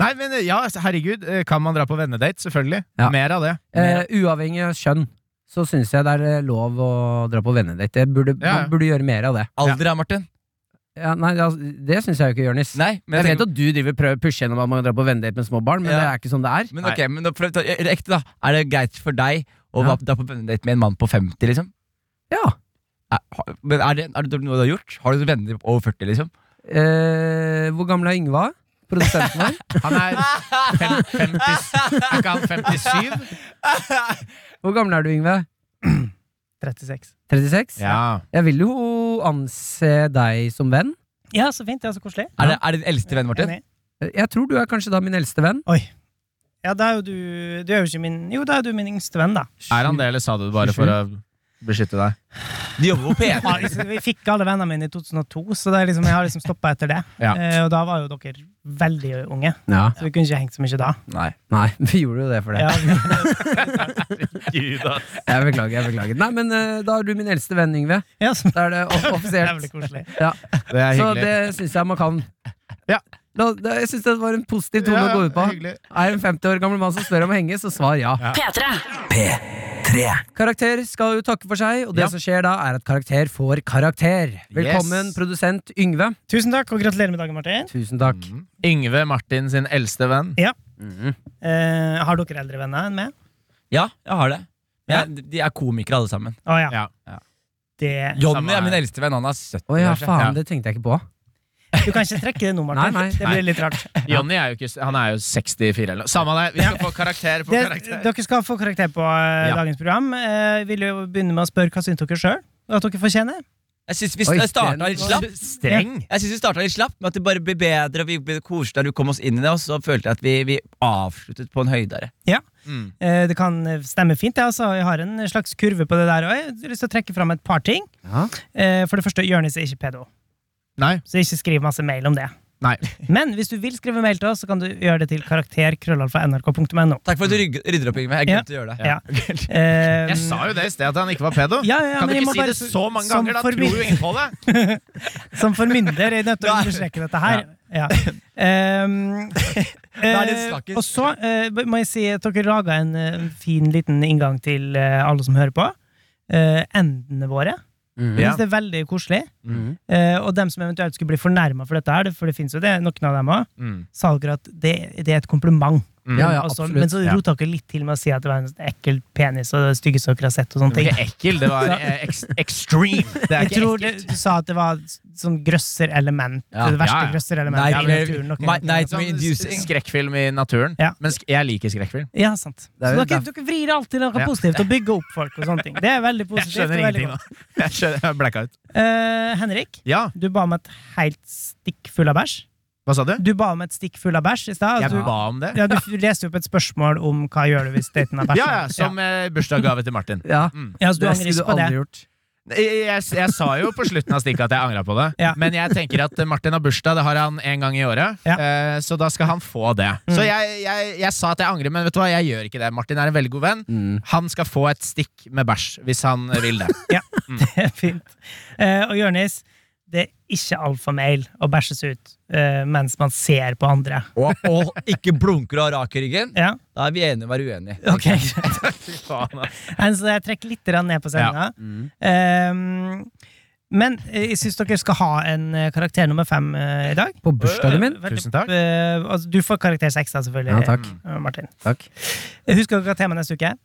S3: Nei, men eh, ja, herregud, eh, kan man dra på vennedate? Selvfølgelig.
S2: Ja.
S3: Mer av det.
S2: (laughs) Eh, uavhengig av kjønn, så syns jeg det er eh, lov å dra på vennedate. Jeg Burde,
S3: Ja, ja.
S2: Man burde gjøre mer av det.
S4: Alder, ja, Martin?
S2: Ja, nei, det, det syns jeg jo ikke, Jonis. Jeg,
S4: Nei. Men, jeg
S2: vet
S4: tenker,
S2: at du driver prøver å pushe gjennom at man drar på vennedate med små barn, men
S4: Ja.
S2: det er ikke sånn det er.
S4: men ok, men da prøv å ta er det ekte, da. Er det greit for deg å
S2: Ja.
S4: være- dra på vennedate med en mann på 50, liksom?
S2: Ja.
S4: Er, har- men er det, er det noe du har gjort? Har du venner over 40, liksom?
S2: Eh, hvor gammel er Yngva? Produsenten vår?
S3: Han er fem, 50, er ikke han 57?
S2: Hvor gammel er du, Yngve?
S7: 36.
S2: 36?
S3: Ja.
S2: Jeg vil jo anse deg som venn.
S7: Ja, så fint. Ja, så koselig.
S4: Er det, er det din eldste venn, Martin?
S7: Enig.
S2: Jeg tror du er kanskje da min eldste venn.
S7: Ja, da er jo du Du er jo ikke min Jo, da er du min yngste venn, da.
S3: Er han det, eller sa du det bare for å beskytte deg?
S4: De jobber på P1.
S7: Ja, liksom, vi fikk alle vennene mine i 2002, så det er liksom, jeg har liksom stoppa etter det.
S3: Ja.
S7: Eh, og da var jo dere veldig unge,
S2: Ja.
S7: så vi kunne ikke hengt så mye da.
S4: Nei.
S2: Nei, (laughs) vi gjorde jo det for det.
S7: Ja,
S2: Jeg beklager. jeg beklager Nei, men eh, Da er du min eldste venn, Yngve.
S7: ja, så,
S2: Da er det off offisielt.
S7: jævlig koselig.
S2: Ja.
S3: Det er
S2: Så
S3: hyggelig.
S2: det syns jeg man kan.
S3: Ja.
S2: Da, da, jeg syns det var en positiv tone å gå ut på. Er en 50 år gammel mann som spør om å henge, så svar ja.
S5: Tre.
S2: Karakter skal jo takke for seg, og det som skjer da, er at karakter får karakter. Velkommen,
S3: Yes.
S2: produsent Yngve.
S7: Tusen takk, og gratulerer med dagen, Martin.
S2: Tusen takk.
S3: Mm. Yngve Martin sin eldste venn.
S7: Eh, har dere eldre venner enn meg?
S4: Ja, jeg har det. Men jeg, de er komikere, alle sammen.
S7: Å ja.
S3: Ja.
S7: Det,
S4: Johnny
S3: Samme
S4: er min
S3: her.
S4: eldste venn. Han er 70.
S2: Å ja,
S4: kanskje.
S2: faen, det tenkte jeg ikke på.
S7: du kan ikke trekke det nå, Martin.
S2: Nei, nei.
S7: Det blir litt rart.
S3: Johnny er jo, ikke, han er jo 64 eller noe. Samme det, vi skal få karakter på
S7: Det,
S3: karakter.
S7: dere skal få karakter på eh,
S3: Ja.
S7: dagens program. Eh, Jeg vil jo begynne med å spørre hva syns dere sjøl? At dere fortjener?
S4: Jeg syns vi
S2: Oi,
S4: st- starta
S2: den
S4: litt
S2: var-
S4: slapt.
S3: Streng.
S4: Jeg synes vi startet litt slapt, men at det bare ble bedre og vi ble koselige da du kom oss inn i det. Og så følte jeg at vi, vi avsluttet på en høydere.
S3: Mm.
S7: Eh, Det kan eh, stemme fint. det, altså. Jeg har en slags kurve på det der òg. Jeg har lyst til å trekke fram et par ting.
S2: Ja.
S7: Eh, For det første, Jonis er ikke pedo.
S3: Nei.
S7: Så ikke skriv masse mail om det.
S3: Nei.
S7: Men hvis du vil skrive mail til oss, så kan du gjøre det til karakterkrøllalfa.nrk.no.
S4: Takk for at du rygg- rydder opp, Yngve. Jeg
S7: Ja.
S4: glemte å gjøre det.
S7: Ja. Eh,
S3: Jeg sa jo det i sted, at han ikke var pedo.
S7: Ja, ja, ja,
S3: kan du
S7: men jeg
S3: ikke
S7: må
S3: si
S7: bare
S3: det så mange
S7: som
S3: ganger? Da tror
S7: forbi-
S3: jo ingen på det.
S7: (laughs) Som formynder er jeg nødt til å understreke dette her.
S3: (laughs)
S7: Ja. Ehm,
S4: er det
S7: eh,
S4: snakkes.
S7: og så eh, må jeg si at dere laga en eh, fin liten inngang til eh, alle som hører på. Eh, endene våre.
S3: (laughs)
S7: Jeg
S3: Ja.
S7: synes det er veldig koselig.
S3: Mm.
S7: Eh, og dem som eventuelt skulle bli fornærma for dette, her, det- for det finnes jo det, noen av dem òg,
S3: Mm.
S7: sa dere at det, det er et kompliment.
S2: Ja, ja,
S7: Altså,
S2: absolutt.
S7: men så
S3: Ja.
S7: rota dere litt til med å si at det var en ekkel penis og det styggeste dere har sett. og
S3: Det
S7: sånne ting
S3: var ikke ekkel, det var eh, ex- extreme. (laughs) Det er
S7: jeg
S3: ikke
S7: tror
S3: ekkelt.
S7: det, du sa at det var s- sånn grøsserelement.
S4: Ja.
S7: det verste
S3: Ja, ja.
S7: grøsserelementet i
S4: Nightmare-
S7: naturen. altså. nok en
S4: my-
S7: gang.
S4: nightmare
S3: Sånn
S4: inducing.
S3: Skrekkfilm i naturen.
S7: Ja.
S3: Men sk jeg liker skrekkfilm.
S7: Ja, sant. Så
S4: Det er jo
S7: dere, dere vrir alltid noe
S3: Ja.
S7: positivt og bygger opp folk. og sånne ting. Det er
S3: (laughs)
S7: veldig
S3: Jeg
S7: positivt. og
S3: skjønner
S7: veldig
S3: ingenting nå.
S7: godt.
S3: (laughs) Jeg skjønner, jeg blacka ut.
S7: Eh, Henrik,
S3: Ja,
S7: du ba om et helt stikk full av bæsj.
S3: hva sa du?
S7: Du ba om et stikk full av bæsj i stad. altså,
S3: Jeg
S7: Du,
S3: ba om det.
S7: ja, du f- leste jo opp et spørsmål om hva gjør du hvis daten har bæsj.
S3: Ja, ja, som eh, bursdagsgave til Martin. Mm.
S4: Ja.
S7: ja, så du
S4: Det
S7: angrer
S4: skulle du
S7: ikke på det.
S4: aldri gjort.
S3: Jeg, jeg, jeg sa jo på slutten av stikket at jeg angra på det,
S7: Ja.
S3: men jeg tenker at Martin har bursdag, det har han en gang i året,
S7: Ja.
S3: eh, så da skal han få det. Så jeg, jeg, jeg sa at jeg angrer, men vet du hva, jeg gjør ikke det. Martin er en veldig god venn. Han skal få et stikk med bæsj hvis han vil det.
S7: Det er (laughs) Fint. Eh, og Jonis, det er ikke alfamail å bæsjes ut eh, mens man ser på andre.
S4: Og, og ikke blunker og raker ryggen.
S7: Ja,
S4: Da er vi enige om å være uenige.
S7: (laughs) ok
S3: altså.
S7: Nei, Så jeg trekker litt grann ned på sendinga. Ehm, men eh, jeg syns dere skal ha en eh, karakter nummer fem eh, i dag.
S2: På bursdagen min?
S7: Veldig-
S3: Tusen takk. Mm.
S7: eh, altså, du får karakter seks, da, selvfølgelig.
S2: Ja, takk.
S7: eh, Martin.
S2: Takk.
S7: Eh, Husker dere hva temaet neste uke er?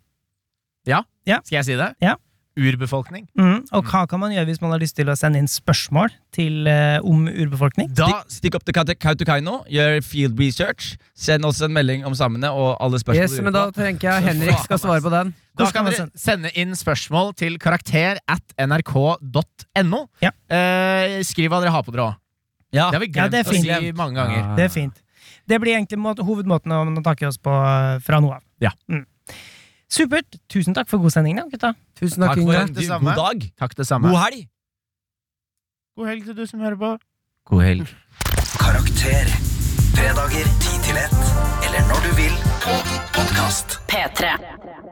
S3: Skal jeg si det?
S7: Ja.
S3: Urbefolkning.
S7: Mm. Og hva kan man gjøre hvis man har lyst til å sende inn spørsmål til, eh, om urbefolkning?
S3: Da
S4: Stikk- Stikk opp til Kaute- Kautokeino, gjør field research. Send oss en melding om samene og alle spørsmål
S2: Yes,
S4: du
S2: men da
S4: lurer på.
S2: tenker jeg Henrik skal svare på den.
S3: Da kan
S7: Hvordan kan
S3: dere
S7: man
S3: sende inn spørsmål til karakter at nrk.no.
S7: Ja. Ah,
S3: Eh, skriv hva dere har på dere òg.
S4: Ja.
S3: Det har vi
S7: Ja,
S3: glemt
S7: det er fint.
S3: å si mange ganger.
S7: Det er fint. Det blir egentlig må hovedmåten å å takke oss på eh, fra nå av.
S3: Ja.
S7: Mm. Supert. Tusen takk for god sending, da, gutta.
S2: Tusen
S4: Takk
S2: takk,
S4: for
S2: Yngve.
S4: en
S3: Det
S4: du-
S3: samme.
S4: god dag.
S3: Takk, det samme.
S4: God helg.
S3: God helg til du som hører på.
S4: God helg.
S1: Karakter. Fredager 10 til 1, eller når du vil, på podkast.
S5: P3.